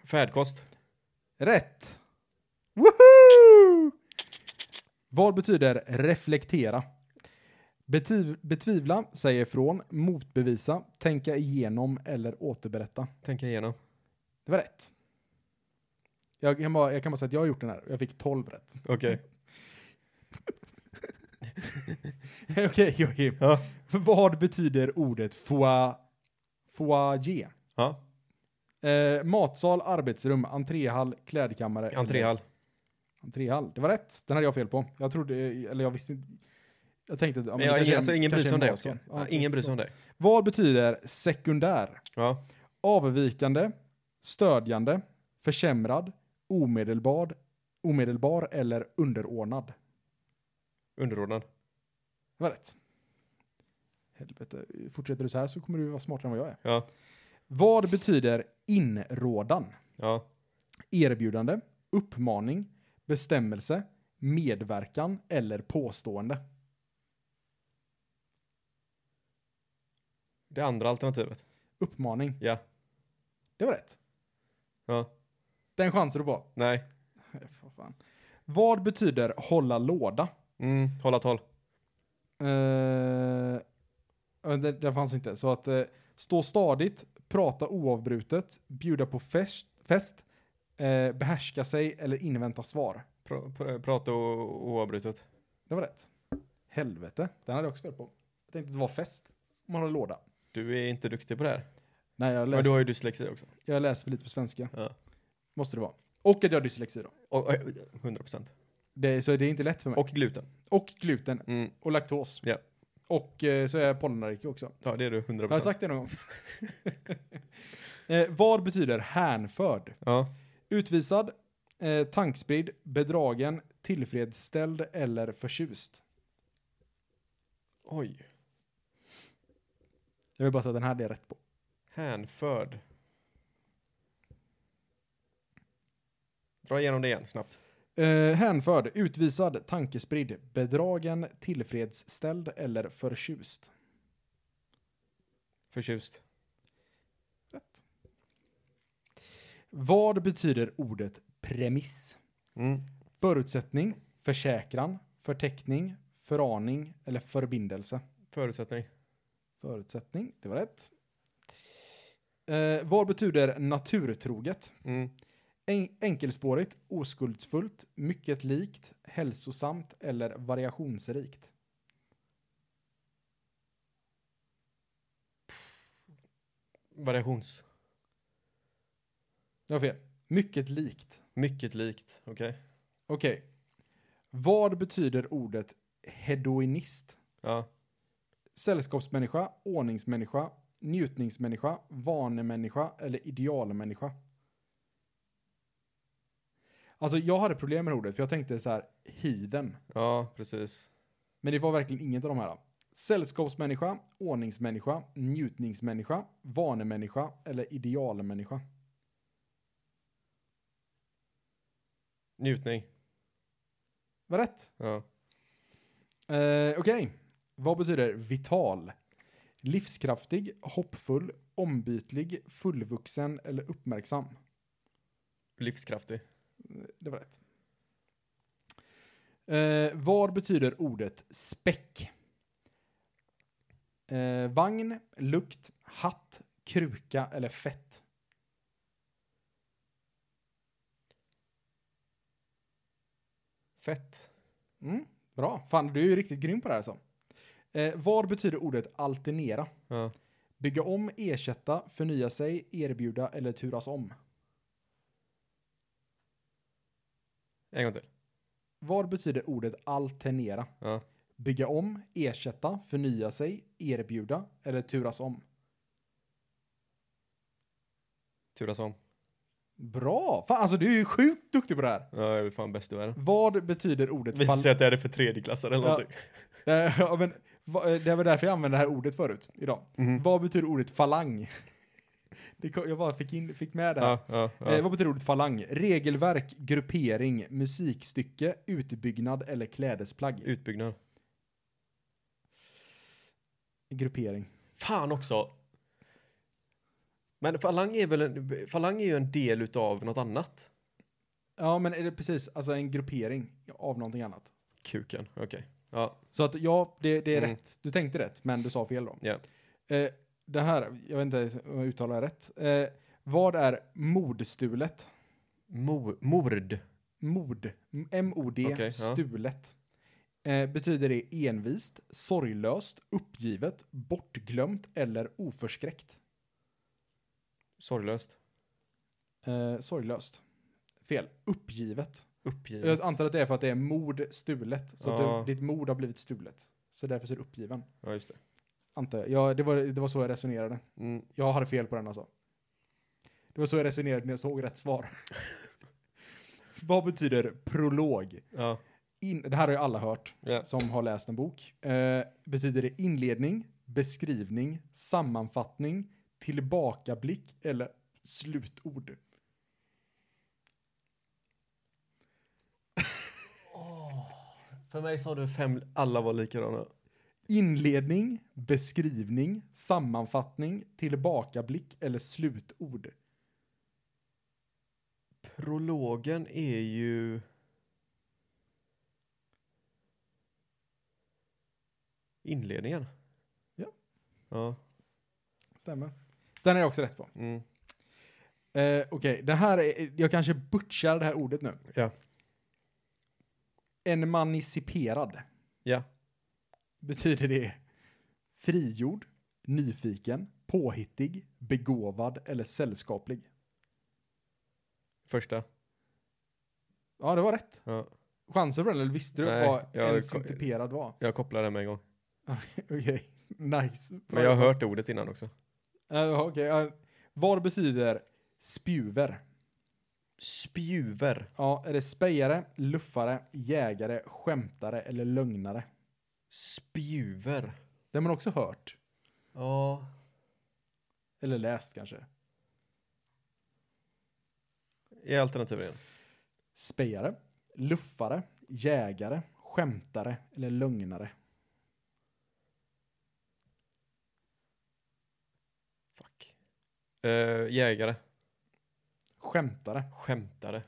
Färdkost. Rätt! Woohoo! Vad betyder reflektera? Betiv- betvivla, säga ifrån, motbevisa, tänka igenom eller återberätta. Tänka igenom. Det var rätt. Jag kan bara, jag kan bara säga att jag har gjort den här. Jag fick 12 rätt. Okej. Okej, Joakim. Ja. Vad betyder ordet foa- foyer? Ja. Eh, matsal, arbetsrum, entréhall, klädkammare. Entréhall. Entréhall. Det var rätt. Den hade jag fel på. Jag trodde, eller jag visste inte. Jag tänkte att... Ja, Men jag, kanske är en- alltså ingen bryr kanske sig är en om dig matsal. Oskar. Ja, Ja, okej. ingen bryr sig om dig. Vad betyder sekundär? Ja. Avvikande, stödjande, försämrad, omedelbar, omedelbar eller underordnad. Underordnad. Det var rätt. Helvete, fortsätter du så här så kommer du vara smartare än vad jag är. Ja. Vad betyder inrådan? Ja. Erbjudande, uppmaning, bestämmelse, medverkan eller påstående. Det andra alternativet. Uppmaning. Ja. Det var rätt. Ja. Den chansar du på. Nej. Nej, för fan. Vad betyder hålla låda? Mm. Hålla tal. Eh, ja, det, det fanns inte. Så att eh, stå stadigt, prata oavbrutet, bjuda på fest, fest eh, behärska sig eller invänta svar. Pra, pra, prata o- oavbrutet. Det var rätt. Helvete, den hade jag också fel på. Jag tänkte att det var fest om man har låda. Du är inte duktig på det här. Nej, jag Men du läser, har ju dyslexi också. jag läser för lite på svenska. Ja. Måste det vara. Och att jag har dyslexi då. Och, och, 100%. Mm. Det, så det är inte lätt för mig. Och gluten. Och, gluten. Mm. Och laktos. Ja. Och eh, så är jag pollenallergiker också. Ja, det är du 100%. Har jag sagt det någon gång? eh, vad betyder hänförd? Ja. Utvisad, eh, tankspridd, bedragen, tillfredsställd eller förtjust. Oj. Jag vill bara säga att den här hade jag rätt på. Hänförd. Dra igenom det igen, snabbt. Eh, hänförd, utvisad, tankespridd, bedragen, tillfredsställd eller förtjust. Förtjust. Vad betyder ordet premiss? Mm. Förutsättning, försäkran, förteckning, föraning eller förbindelse. Förutsättning. Förutsättning, det var rätt. Eh, vad betyder naturtroget? Mm. En- enkelspårigt, oskuldsfullt, mycket likt, hälsosamt eller variationsrikt. Variations. Det var fel. Mycket likt. Mycket likt. Okej. Okej. Vad betyder ordet hedonist? Ja. Sällskapsmänniska, ordningsmänniska, njutningsmänniska, vanemänniska eller idealmänniska? Alltså jag hade problem med ordet för jag tänkte så här, hiden. Ja, precis. Men det var verkligen inget av de här. Sällskapsmänniska, ordningsmänniska, njutningsmänniska, vanemänniska eller idealmänniska. Njutning. Var rätt. Ja. Eh, Okej. Vad betyder vital? Livskraftig, hoppfull, ombytlig, fullvuxen eller uppmärksam? Livskraftig. Det var rätt. Eh, vad betyder ordet späck? Eh, vagn, lukt, hatt, kruka eller fett? Fett. Mm, bra. Fan, du är ju riktigt grym på det här. Så. Eh, vad betyder ordet alternera? Ja. Bygga om, ersätta, förnya sig, erbjuda eller turas om? En gång till. Vad betyder ordet alternera? Ja. Bygga om, ersätta, förnya sig, erbjuda eller turas om? Turas om. Bra! Fan, alltså du är ju sjukt duktig på det här. Ja, jag är fan bäst i världen. Vad betyder ordet Visar fall... sig att det är för tredjeklassare eller Ja. någonting. Eh, ja, men, va, eh, det var därför jag använde det här ordet förut, idag. Mhm. Vad betyder ordet falang? Det, kom- jag bara fick, in, fick med det här. Ja, ja, ja. Eh, vad betyder ordet falang? Regelverk, gruppering, musikstycke, utbyggnad eller klädesplagg? Utbyggnad. gruppering. Fan också! Men falang är väl en, falang är ju en del utav något annat? Ja, men är det precis, alltså en gruppering av någonting annat. Kuken, okej. Ja, Så att ja, det, det är Mm. rätt. Du tänkte rätt, men du sa fel då. ja. Eh, det här, jag vet inte om jag uttalar det rätt. Eh, vad är mordstulet? Mor, mord. Mord. M-O-D. Okej, ja. stulet. Eh, betyder det envist, sorglöst, uppgivet, bortglömt eller oförskräckt? Sorglöst. Eh, sorglöst. Fel. Uppgivet. Uppgivet. Jag antar att det är för att det är mord stulet. Så Ja. att du, ditt mord har blivit stulet. Så därför så är du uppgiven. Ja, just det. Antar jag. Ja, det, var, det var så jag resonerade. Mm. Jag hade fel på den alltså. Det var så jag resonerade när jag såg rätt svar. Vad betyder prolog? Ja, In, det här har ju alla hört. ja. som har läst en bok. Eh, betyder det inledning, beskrivning, sammanfattning, tillbakablick eller slutord? För mig sa du fem, alla var likadana. Inledning, beskrivning, sammanfattning, tillbakablick eller slutord? Prologen är ju... Inledningen. Ja. Ja. Stämmer. Den är jag också rätt på. Mm. Eh, Okej, det här är, jag kanske butchar det här ordet nu. Ja. Emaniciperad. Ja. Betyder det frigjord, nyfiken, påhittig, begåvad eller sällskaplig? Första. Ja, det var rätt. Ja. Chanser på den, eller visste du Nej, vad jag- en syntiperad var? Jag kopplar den med en gång. Okej, nice. Men jag har hört ordet innan också. Uh, vad betyder spjuver? Spjuver. Ja, är det spejare, luffare, jägare, skämtare eller lögnare? Spjuver. Det har man också hört. Ja. Eller läst kanske. Är alternativen igen? Spejare, luffare, jägare, skämtare eller lögnare? Fuck. Eh, jägare. Skämtare. Skämtare.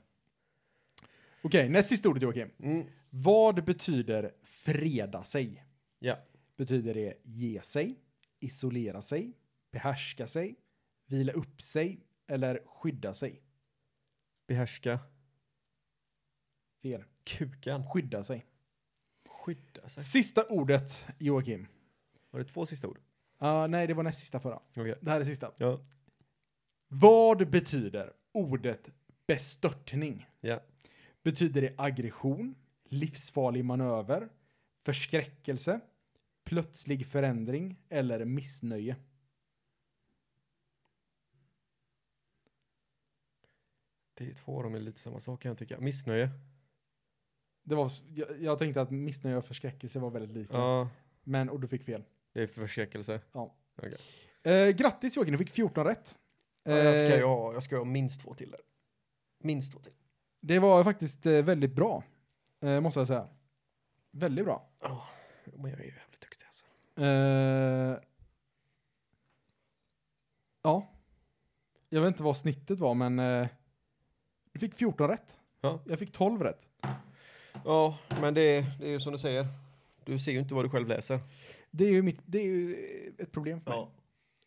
Okej, näst sista ordet Joakim. Mm. Vad betyder freda sig? Ja. betyder det ge sig, isolera sig, behärska sig, vila upp sig eller skydda sig. Behärska. Fel. Kukan. Skydda sig. Skydda sig. Sista ordet, Joakim. Har du två sista ord? Ah, nej, det var näst sista förra. Okej. Det här är sista. Ja. Vad betyder ordet bestörtning? Ja. Betyder det aggression, livsfarlig manöver, förskräckelse, plötslig förändring eller missnöje? Det är två av dem är lite samma sak kan jag tycka. Missnöje. Det var, jag, jag tänkte att missnöje och förskräckelse var väldigt lika. Ja. Men, och du fick fel. Det är förskräckelse. Eh, grattis Joakim, du fick 14 rätt. Ja, jag, ska Eh, ju ha, jag ska ju ha minst två till där. Minst två till. Det var faktiskt eh, väldigt bra, eh, måste jag säga. Väldigt bra. Oh, men jag är ju jävligt duktig alltså. Eh, ja. Jag vet inte vad snittet var, men eh, du fick 14 rätt. Ja. Jag fick 12 rätt. Ja, men det, det är ju som du säger. Du ser ju inte vad du själv läser. Det är ju, mitt, det är ju eh, ett problem för mig. Ja.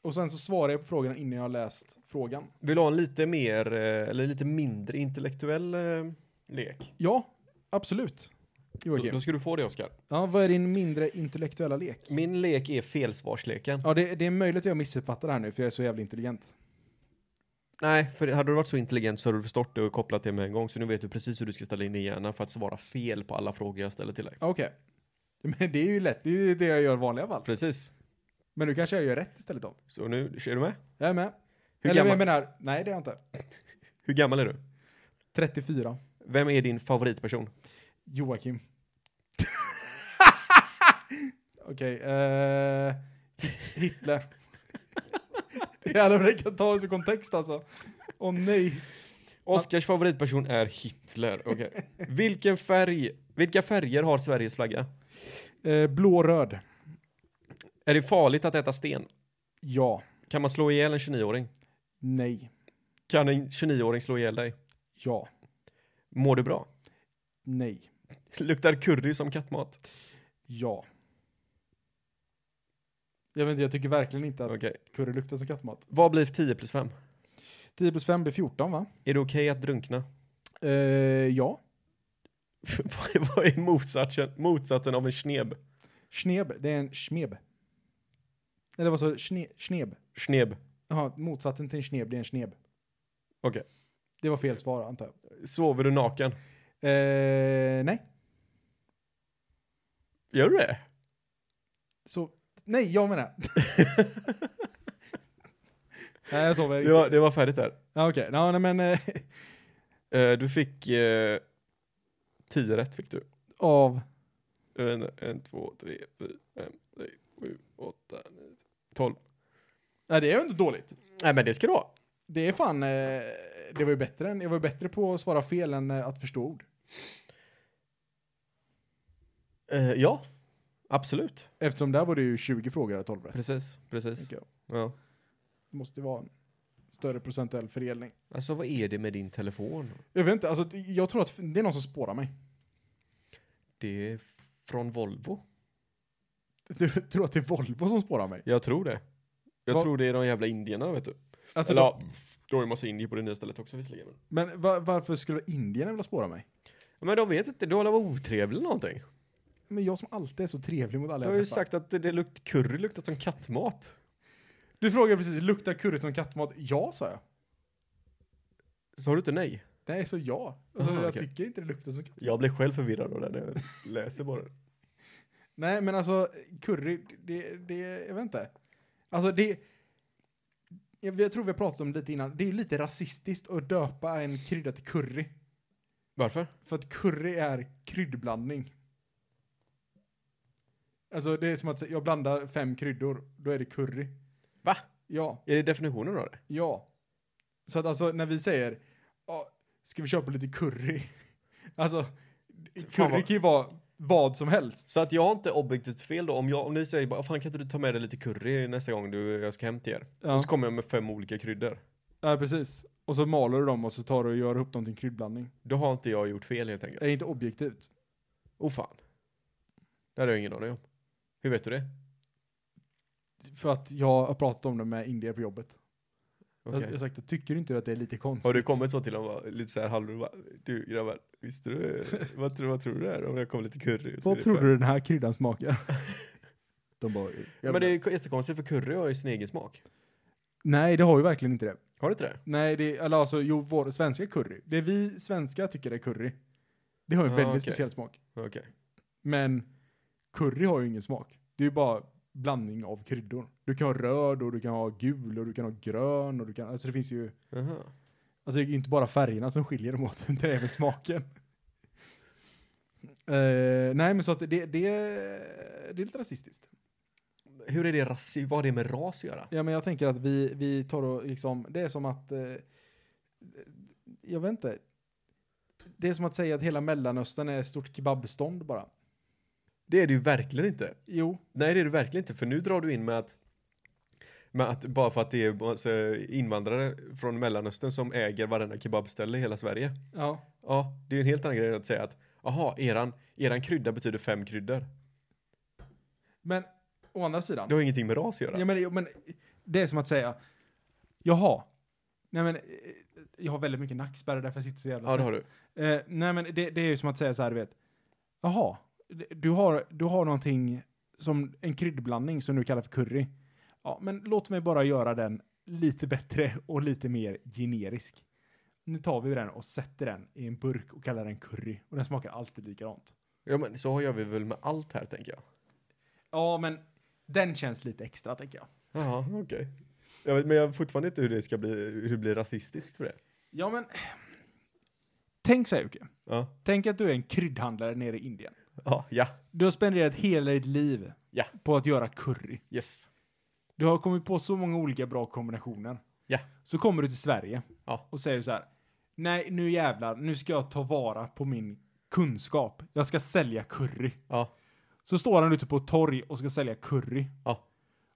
Och sen så svarar jag på frågan innan jag har läst frågan. Vill du ha en lite mer, eh, eller lite mindre intellektuell eh, lek? Ja, absolut. Då, Joakim. då ska du få det, Oskar. Ja, vad är din mindre intellektuella lek? Min lek är felsvarsleken. Ja, det, det är möjligt att jag missuppfattar det här nu, för jag är så jävla intelligent. Nej, för hade du varit så intelligent så hade du förstått det och kopplat det med en gång. Så nu vet du precis hur du ska ställa in din hjärna för att svara fel på alla frågor jag ställer till dig. Ja, Okej. Men det är ju lätt, det är ju det jag gör i vanliga fall. Precis. Men nu kanske jag gör rätt istället då. Så nu, är du med? Jag är med. Hur Eller gammal- jag menar, nej det är jag inte. Hur gammal är du? 34. Vem är din favoritperson? Joakim. Okej, eh, Hitler. det är alla det kan ta i sin kontext alltså. Åh nej. Oskars favoritperson är Hitler. Okej. Vilken färg, vilka färger har Sveriges flagga? Eh, Blå-röd. Är det farligt att äta sten? Ja. Kan man slå ihjäl en 29-åring? Nej. Kan en 29-åring slå ihjäl dig? Ja. Mår du bra? Nej. Luktar curry som kattmat? Ja. Jag vet inte, jag tycker verkligen inte att Okej. curry luktar som kattmat. Vad blir 10 plus 5? 10 plus 5 blir 14 va? Är det okej att drunkna? Eh, ja. Vad är- Vad är motsatsen, motsatsen av en sneb? Schneb, det är en schneb. Eller vad sa du? Schneb. Sneb. Jaha, motsatsen till en schneb, det är en schneb. Okej. Det var fel svar antar jag. Sover du naken? Eh, nej. Gör du det? Så, nej, jag menar. nej, jag sover Det inte. var, det var färdigt där. Ja, okej. Ja, nej men eh, Eh, du fick... Eh, 10 rätt fick du. av... En, en, två, tre, fyra, fem, sex, sju, åtta, nio, tolv. Nej, det är ju inte dåligt. Nej men det ska du ha. Det är fan, eh, det var ju bättre än, jag var ju bättre på att svara fel än eh, att förstå ord. Eh, ja, absolut. Eftersom där var det ju 20 frågor och 12 rätt. Precis, precis. tänker jag. Ja. Det måste ju vara en större procentuell fördelning. Alltså vad är det med din telefon? Jag vet inte, alltså jag tror att det är någon som spårar mig. Det är från Volvo. Jag tror att det är Volvo som spårar mig. Jag tror det. Jag Va- tror det är de jävla indierna vet du. Alltså, Eller då, ja, då är det massa indier på det nya stället också visserligen. men- men va, varför skulle indierna vilja spåra mig? Men de vet inte, du har väl varit otrevlig eller någonting. Men jag som alltid är så trevlig mot alla Du har ju jag träffar. sagt att det lukt, curry luktar som kattmat. Du frågade precis, luktar curry som kattmat? Ja, sa jag. Sa du inte nej? Nej, så ja. Alltså, Aha, jag okej. tycker inte det luktar som katt. Jag blev själv förvirrad av det när jag läser bara. Nej, men alltså curry, det, det, jag vet inte. Alltså det, jag, jag tror vi har pratat om det lite innan, det är ju lite rasistiskt att döpa en krydda till curry. Varför? För att curry är kryddblandning. Alltså det är som att säga, jag blandar fem kryddor, då är det curry. Va? Ja, Är det definitionen av det? ja. Så att alltså när vi säger, ja, ska vi köpa lite curry? Alltså, Fan curry vad- kan ju vara vad som helst. Så att jag har inte objektivt fel då, om, jag, om ni säger bara, fan kan inte du ta med dig lite curry nästa gång du, jag ska hem till er? Ja. Och så kommer jag med fem olika kryddor. Ja, precis. Och så maler du dem och så tar du och gör upp dem till en kryddblandning. Då har inte jag gjort fel helt enkelt. Det är inte objektivt. Oh fan. Det hade jag ingen aning om. Hur vet du det? För att jag har pratat om det med indier på jobbet. Jag- Jag Okej. har sagt, jag tycker inte att det är lite konstigt? Har du kommit så till dem bara, lite så här halv, bara, du grabbar, visste du, vad, tror, vad tror du det är om jag kommer lite curry? och så är Vad det tror fem?" du den här kryddan smakar? De bara, jag Men det bara, är jättekonstigt för curry har ju sin egen smak. Nej, det har ju verkligen inte det. Har du inte det? Nej, det, eller alltså, jo, vår svenska curry. Det vi svenskar tycker är curry. Det har ju en Ah, väldigt okej. speciell smak. Okej. Men curry har ju ingen smak. Det är ju bara blandning av kryddor. Du kan ha röd och du kan ha gul och du kan ha grön och du kan, alltså det finns ju, Jaha. alltså det är ju inte bara färgerna som skiljer dem åt, det är även smaken. Eh, nej, men så att det, det, det är lite rasistiskt. Hur är det rasi- vad har det med ras att göra? Ja, men jag tänker att vi, vi tar och liksom, det är som att, eh, jag vet inte, det är som att säga att hela Mellanöstern är ett stort kebabstånd bara. Det är det ju verkligen inte. Jo, Nej, det är det verkligen inte. För nu drar du in med att, med att bara för att det är alltså, invandrare från Mellanöstern som äger varenda kebabställe i hela Sverige. ja, Ja, det är ju en helt annan grej än att säga att aha, eran, eran krydda betyder fem kryddor. men å andra sidan. Det har ingenting med ras att göra. Ja, men, men det är som att säga, jaha, nej men, eh, jag har väldigt mycket nackspärr därför jag sitter så jävla Ja, det snett. har du. Eh, nej, men det, det är ju som att säga så här, du vet. Jaha, d- du har, du har någonting som en kryddblandning som du kallar för curry. Ja, men låt mig bara göra den lite bättre och lite mer generisk. Nu tar vi den och sätter den i en burk och kallar den curry. Och den smakar alltid likadant. Ja, men så gör vi väl med allt här, tänker jag. Ja, men den känns lite extra, tänker jag. Jaha, okej. Jag vet, men jag vet fortfarande inte hur det ska bli, hur det blir rasistiskt för det. Ja, men... Tänk så här, Jocke. Ja, Tänk att du är en kryddhandlare nere i Indien. ja, ja. Du har spenderat hela ditt liv Ja. på att göra curry. yes. Du har kommit på så många olika bra kombinationer. Ja. Så kommer du till Sverige Ja. och säger så här. Nej, nu jävlar, nu ska jag ta vara på min kunskap. Jag ska sälja curry. Ja, Så står han ute på ett torg och ska sälja curry. Ja.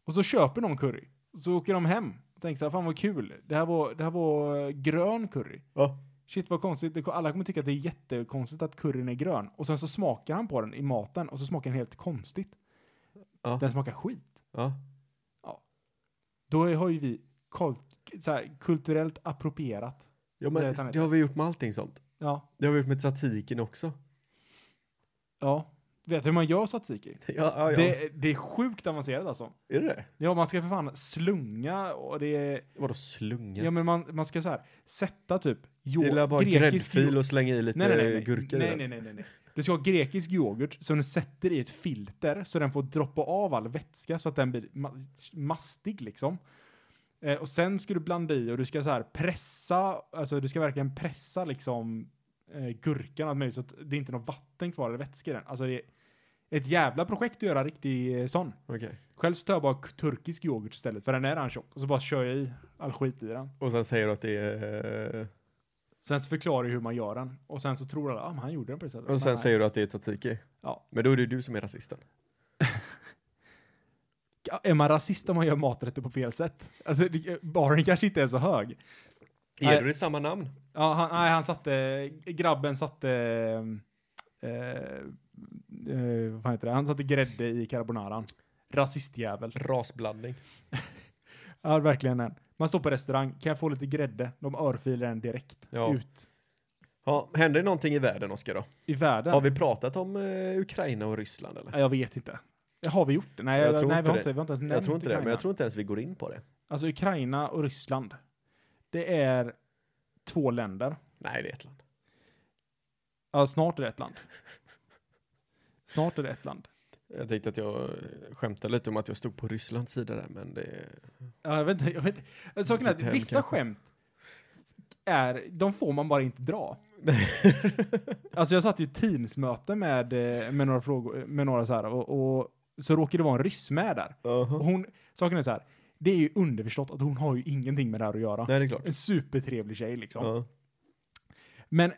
Och så köper de curry. Så åker de hem och tänker så här, fan vad kul. Det här var, det här var eh, grön curry. ja. Shit vad konstigt, Det- alla kommer tycka att det är jättekonstigt att curryn är grön. Och sen så smakar han på den i maten och så smakar den helt konstigt. Ja. Den smakar skit. ja. Då har ju vi kol- så här, kulturellt approprierat. Ja, Det är men sant. det har vi gjort med allting sånt. Ja, Det har vi gjort med tzatzikin också. ja. Vet du hur man gör tzatziki? Ja, ja, ja. Det, det är sjukt avancerat alltså. Är det det? Ja, man ska för fan slunga och det är... Vadå slunga? Ja, men man, man ska så här sätta typ... det är yo- väl bara grekisk gräddfil yo- och slänga i lite nej, nej, nej, nej. gurka i nej, den. nej, nej, nej, nej. Du ska ha grekisk yoghurt som du sätter i ett filter så den får droppa av all vätska så att den blir ma- mastig liksom. Eh, och sen ska du blanda i och du ska så här pressa, alltså du ska verkligen pressa liksom eh, gurkan och allt möjligt så att det är inte är något vatten kvar eller vätska i den. Alltså det är ett jävla projekt att göra riktig eh, sån. Okej. Själv så tar jag bara k- turkisk yoghurt istället för den är redan tjock och så bara kör jag i all skit i den. Och sen säger du att det är... Sen så förklarar jag hur man gör den och sen så tror alla, ah, men han gjorde den på det sättet. Och Men sen nej. säger du att det är tzatziki. Ja. Men då är det ju du som är rasisten. är man rasist om man gör maträtter på fel sätt? Alltså, det- baren kanske inte är så hög. Nej. Ger du det samma namn? Ja, han, nej, han satte, grabben satte, eh, eh, vad fan heter det, han satte grädde i carbonaran. Rasistjävel. Rasblandning. Ja, verkligen en. Man står på restaurang, kan jag få lite grädde? De örfilar den direkt Ja. ut Ja, händer det någonting i världen, Oskar då? i världen. Har vi pratat om eh, Ukraina och Ryssland eller? Ja, Jag vet inte. Har vi gjort det? Nej, Jag jag tror nej vi, inte har det. inte, vi har inte ens nämnt Jag tror inte det, Ukraina. men jag tror inte ens vi går in på det. Alltså Ukraina och Ryssland, det är två länder. Nej, det är ett land. Ja, snart är det ett land. Snart är det ett land. Jag tänkte att jag skämtade lite om att jag stod på Rysslands sida där, men det... Ja, jag vet inte, jag vet inte. Saken är att Vilket hem vissa kanske. skämt är, de får man bara inte dra. Alltså jag satt ju i Teams-möte med, eh, med några frågor, med några så här, och, och så råkade det vara en ryss med där. Och hon, saken är så här, det är ju underförstått att hon har ju ingenting med det här att göra. Nej, det är klart. En supertrevlig tjej liksom. Ja. Men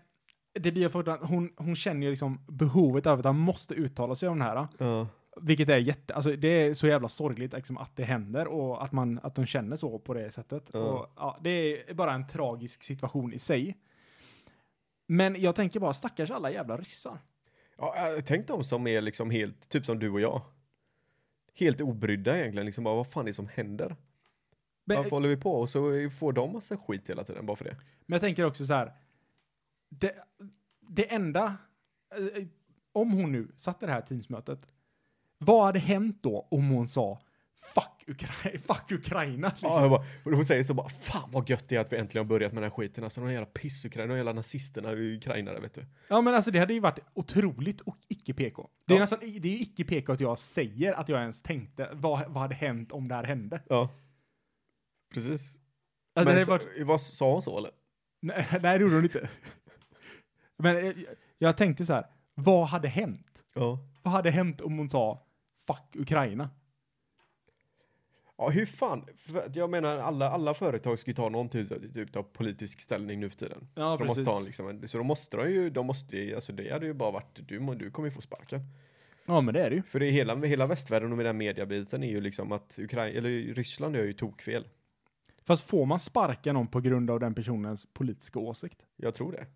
det blir för att hon, hon känner ju liksom behovet av att han måste uttala sig om det här. Ja. Vilket är jätte, alltså det är så jävla sorgligt liksom, att det händer och att, man, att de känner så på det sättet. Ja. Och, ja, det är bara en tragisk situation i sig. Men jag tänker bara, stackars alla jävla ryssar. Ja, eh, tänk de som är liksom helt, typ som du och jag. Helt obrydda egentligen, liksom bara vad fan är det som händer? Men, Varför håller vi på? Och så får de massa skit hela tiden bara för det. men jag tänker också så här, det, det enda, eh, om hon nu satt i det här teamsmötet, vad hade hänt då om hon sa fuck, Ukra- fuck Ukraina? Liksom? Ja, jag bara, och hon säger så bara, fan vad gött det är att vi äntligen har börjat med den här skiten. Alltså de jävla pissukrainarna, de jävla nazisterna i Ukraina där vet du. Ja men alltså det hade ju varit otroligt och icke-PK. Det är Ja. nästan, det är ju icke-PK att jag säger att jag ens tänkte, vad, vad hade hänt om det här hände? Ja. Precis. Alltså, det Men hade så, varit, vad sa hon så eller? nej, nej, det gjorde hon inte. Men eh, jag, jag tänkte så här, vad hade hänt? Ja. Vad hade hänt om hon sa fuck Ukraina. Ja, hur fan? För att jag menar, alla, alla företag ska ju ta någon typ, typ av politisk ställning nu för tiden. Ja, så, de måste precis. ha en, liksom, en- så de måste de ju, de måste ju- alltså det hade ju bara varit, du, må- du kommer ju få sparken. Ja, men det är det ju. För det är hela, hela västvärlden och med den här mediabiten är ju liksom att Ukraina, eller Ryssland gör ju tokfel. Fast får man sparka någon på grund av den personens politiska åsikt? Jag tror det.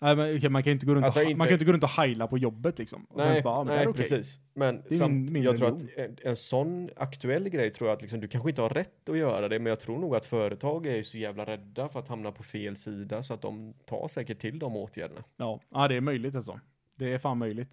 Nej, men okej, man kan ju inte gå runt, Alltså, och, inte- man kan ju inte gå runt och heila på jobbet liksom. Och sen så bara, ja, men det här är okej. precis. Men är samt, min- min jag tror religion. att en, en sån aktuell grej tror jag att liksom, du kanske inte har rätt att göra det, men jag tror nog att företag är ju så jävla rädda för att hamna på fel sida så att de tar säkert till de åtgärderna. Ja, ja, det är möjligt alltså. Det är fan möjligt.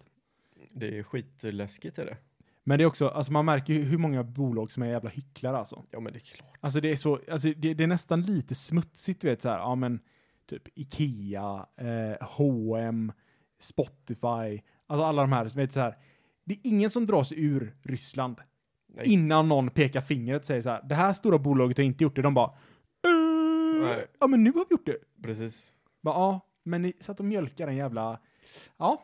Det är skitläskigt är det. Men det är också, alltså man märker ju hur många bolag som är jävla hycklare alltså. Ja men det är klart. Alltså det är så, alltså det, det är nästan lite smutsigt du vet så här, ja men typ Ikea, eh, H&M, Spotify, alltså alla de här som vet så här. Det är ingen som dras ur Ryssland Nej. innan någon pekar fingret och säger så här, det här stora bolaget har inte gjort det. De bara, eh, Nej. ja men nu har vi gjort det. Precis. Bara, ja, men ni satt och mjölkade en jävla, ja,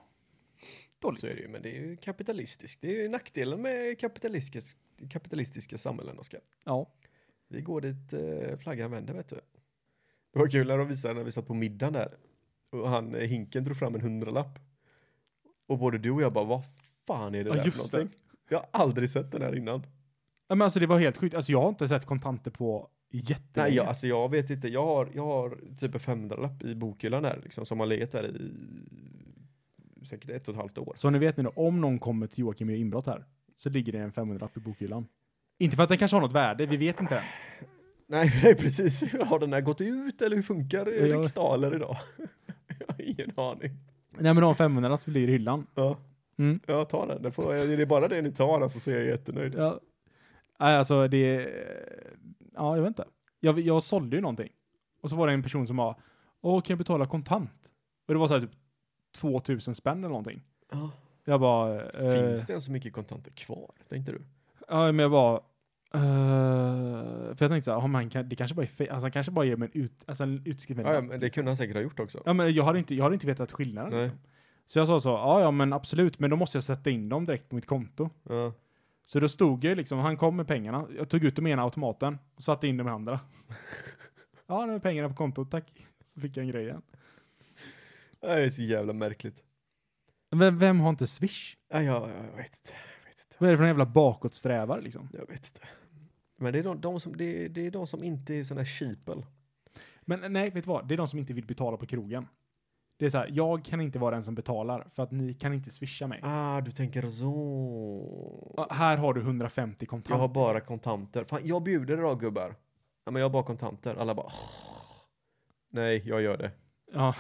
dåligt. Så är det ju, men det är ju kapitalistiskt. Det är ju nackdelen med kapitalistiska, kapitalistiska samhällen, Oskar. Ja. Vi går dit eh, flaggan vänder, vet du. Det var kul när de visade när vi satt på middagen där. Och han, eh, Hinken, drog fram en hundralapp. Och både du och jag bara, vad fan är det Ja, där just för någonting? Jag har aldrig sett den här innan. Ja, men alltså det var helt sjukt. Alltså jag har inte sett kontanter på jättelänge. Nej, jag, alltså jag vet inte. Jag har, jag har typ en 500-lapp i bokhyllan där, liksom, som har legat där i säkert ett och ett halvt år. Så nu vet ni då, om någon kommer till Joakim och gör inbrott här, så ligger det en 500 i bokhyllan. Inte för att den kanske har något värde, vi vet inte än. Nej, nej precis. Har den här gått ut eller hur funkar Ja. riksdaler idag? Jag har ingen aning. Nej men de 500 som ligger i hyllan. Ja. Mm. Jag tar den. Det får, är det bara det ni tar alltså, så är jag jättenöjd. Ja. Nej alltså det... är- Ja, jag vet inte. Jag, jag sålde ju någonting. Och så var det en person som var, åh kan jag betala kontant? Och det var så här typ 2000 spänn eller någonting. Ja. Jag bara... eh, Finns det ens så mycket kontanter kvar? Tänkte du? Ja, men jag bara... eh, för jag tänkte så här, oh, man kan, det kanske bara är fe- alltså, han kanske bara ger mig en, ut, alltså, en utskrift. med en Ja, ja, lapp, men det liksom. kunde han säkert ha gjort också. ja, men jag hade inte, jag hade inte vetat skillnaden. Nej. Liksom. Så jag sa så, ja, ja, men absolut, men då måste jag sätta in dem direkt på mitt konto. Ja. Så då stod jag liksom, han kom med pengarna, jag tog ut dem i ena automaten och satte in dem i andra. ja, nu är pengarna på kontot, tack. Så fick jag en grej igen. Det är så jävla märkligt. Vem, vem har inte Swish? Ja, jag, jag vet inte. Jag vet inte. Vad är det för en jävla bakåtsträvare liksom? Jag vet inte. Men det är de, de, som, det, är- det är de som inte är sådana här sheeple. Men nej, vet du vad? Det är de som inte vill betala på krogen. Det är så här, jag kan inte vara den som betalar för att ni kan inte swisha mig. Ah, du tänker så. Ja, Här har du 150 Jag kontant. har bara kontanter. Fan, jag bjuder idag gubbar. Ja, men jag har bara kontanter. Alla bara "Åh." Nej, jag gör det. Ja.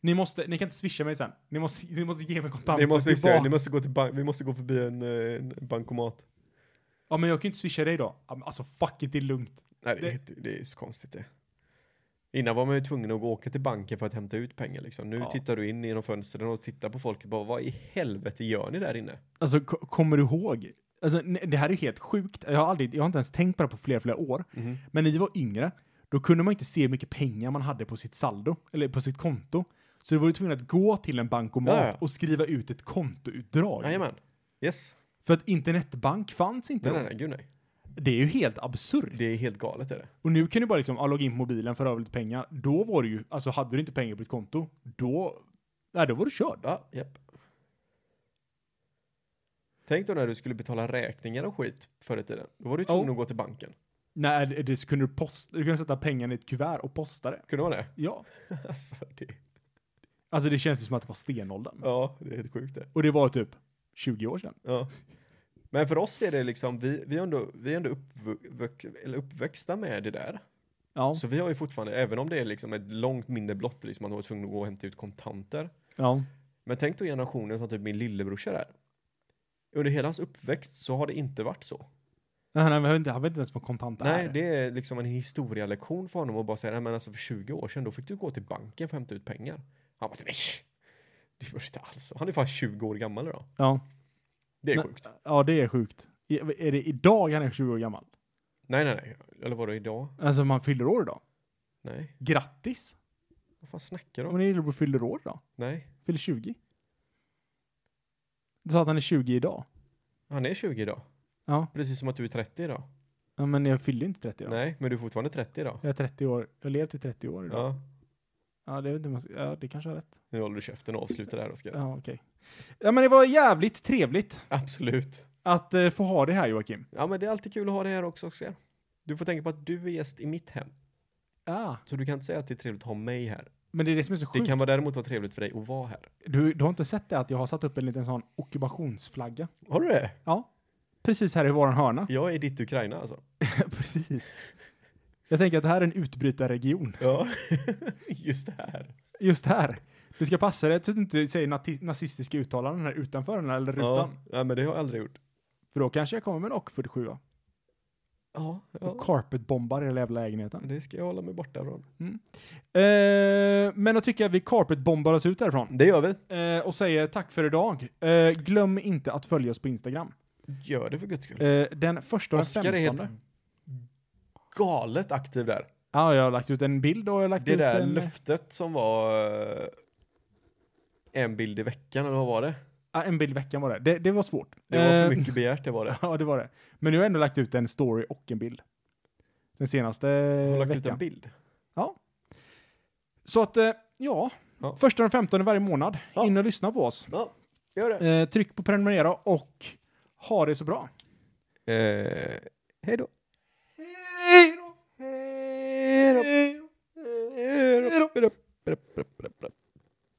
Ni, måste, ni kan inte swisha mig sen. Ni måste, ni måste ge mig kontanter Ni måste, tillbaka. se, ni måste gå till bank, vi måste gå förbi en, eh, en bankomat. Ja, men jag kan ju inte swisha dig då. Ja, men Alltså fuck it, det är lugnt. Nej, det, Det- är helt- det är så konstigt det. Innan var man ju tvungen att gå och åka till banken för att hämta ut pengar liksom. Nu Ja. tittar du in genom fönstren och tittar på folket bara, vad i helvete gör ni där inne? Alltså, ko- kommer du ihåg? Alltså, ne- det här är ju helt sjukt. Jag har, aldrig, jag har inte ens tänkt på det på flera, flera år. Mhm. Men när vi var yngre, då kunde man inte se hur mycket pengar man hade på sitt saldo, eller på sitt konto. Så du var ju tvungen att gå till en bankomat Ja, ja. och skriva ut ett kontoutdrag. Jajamän. Yes. För att internetbank fanns inte Nej, då. nej, nej, gud nej. Det är ju helt absurt. Det är helt galet är det. Och nu kan du bara liksom, ah, logga in på mobilen för över lite pengar. Då var du ju, alltså hade du inte pengar på ditt konto, då, nej då var du körd. Ja, japp. Tänk då när du skulle betala räkningar och skit förr i tiden. Då var du ju tvungen Ja. att gå till banken. Nej, det, det så kunde du posta, du kunde sätta pengarna i ett kuvert och posta det. Kunde vara det? Ja. Alltså, det, Alltså det känns ju som att det var stenåldern. ja, det är helt sjukt det. Och det var typ 20 år sedan. Ja. Men för oss är det liksom, vi, vi är ändå, vi är ändå uppvux, eller uppväxta med det där. Ja. Så vi har ju fortfarande, även om det är liksom ett långt mindre blott, liksom man var tvungen att gå och hämta ut kontanter. ja. Men tänk då generationen som typ min lillebrorsa där. Under hela hans uppväxt så har det inte varit så. Nej, nej, men jag vet inte, han vet inte ens vad kontant Nej, är. det är liksom en historielektion för honom att bara säga, nej men alltså för 20 år sedan då fick du gå till banken för att hämta ut pengar. Han bara, nej! Det var det inte alls. Han är fan 20 år gammal idag. Ja. Det är Men- sjukt. ja, det är sjukt. I- Är det idag han är 20 år gammal? Nej, nej, nej. Eller var det idag? Alltså man fyller år idag. Nej. Grattis! Vad fan snackar du om? Om ni lillebror fyller år idag. Nej. Fyller 20. Du sa att han är 20 idag. Han är 20 idag. Ja, Precis som att du är 30 idag. ja men jag fyllde ju inte 30 år. Nej, men du är fortfarande 30 idag. Jag är 30 år. Jag har levt i 30 år idag. Ja. Ja, det, är väl inte, måste- ja, det kanske är rätt. Nu håller du käften och avslutar det här Oskar. Ja, okej. Ja, men det var jävligt trevligt Absolut. att eh, få ha det här, Joakim. Ja, men det är alltid kul att ha det här också Oskar. Du får tänka på att du är gäst i mitt hem. Ja. Så du kan inte säga att det är trevligt att ha mig här. Men det är det som är så Det sjukt. kan vara däremot vara trevligt för dig att vara här. Du, du har inte sett det att jag har satt upp en liten sån ockupationsflagga? Har du det? Ja. Precis här i våran hörna. Jag är ditt Ukraina alltså. Precis. Jag tänker att det här är en utbrytarregion. Ja, just det här. Just här. Du ska passa dig så att du inte säger nati- nazistiska uttalanden här utanför den här eller rutan. Ja, ja, men det har jag aldrig gjort. För då kanske jag kommer med en Ock 47 och Ja, carpetbombar i hela jävla lägenheten. Det ska jag hålla mig borta från. Eh, men då tycker jag att vi carpetbombar oss ut härifrån. Det gör vi. Eh, och säger tack för idag. Eh, glöm inte att följa oss på Instagram. Gör det för guds skull. Eh, den första och den Oskar är helt femtonde. galet aktiv där. Ja, jag har lagt ut en bild och jag har lagt Det ut där en... löftet som var eh, en bild i veckan, eller vad var det? Ja, en bild i veckan var det. Det, det var svårt. Det var Eh, för mycket begärt, det var det. Ja, det var det. Men nu har jag ändå lagt ut en story och en bild. Den senaste Jag har lagt ut en veckan. bild. Så att, eh, ja. Ja. Första och den 15 varje månad. Ja. In och lyssna på oss. Ja, gör det. Eh, tryck på prenumerera och ha det så bra. Eh, hej då. Hej då. Hej då. Hej då. Hej då. Hej då.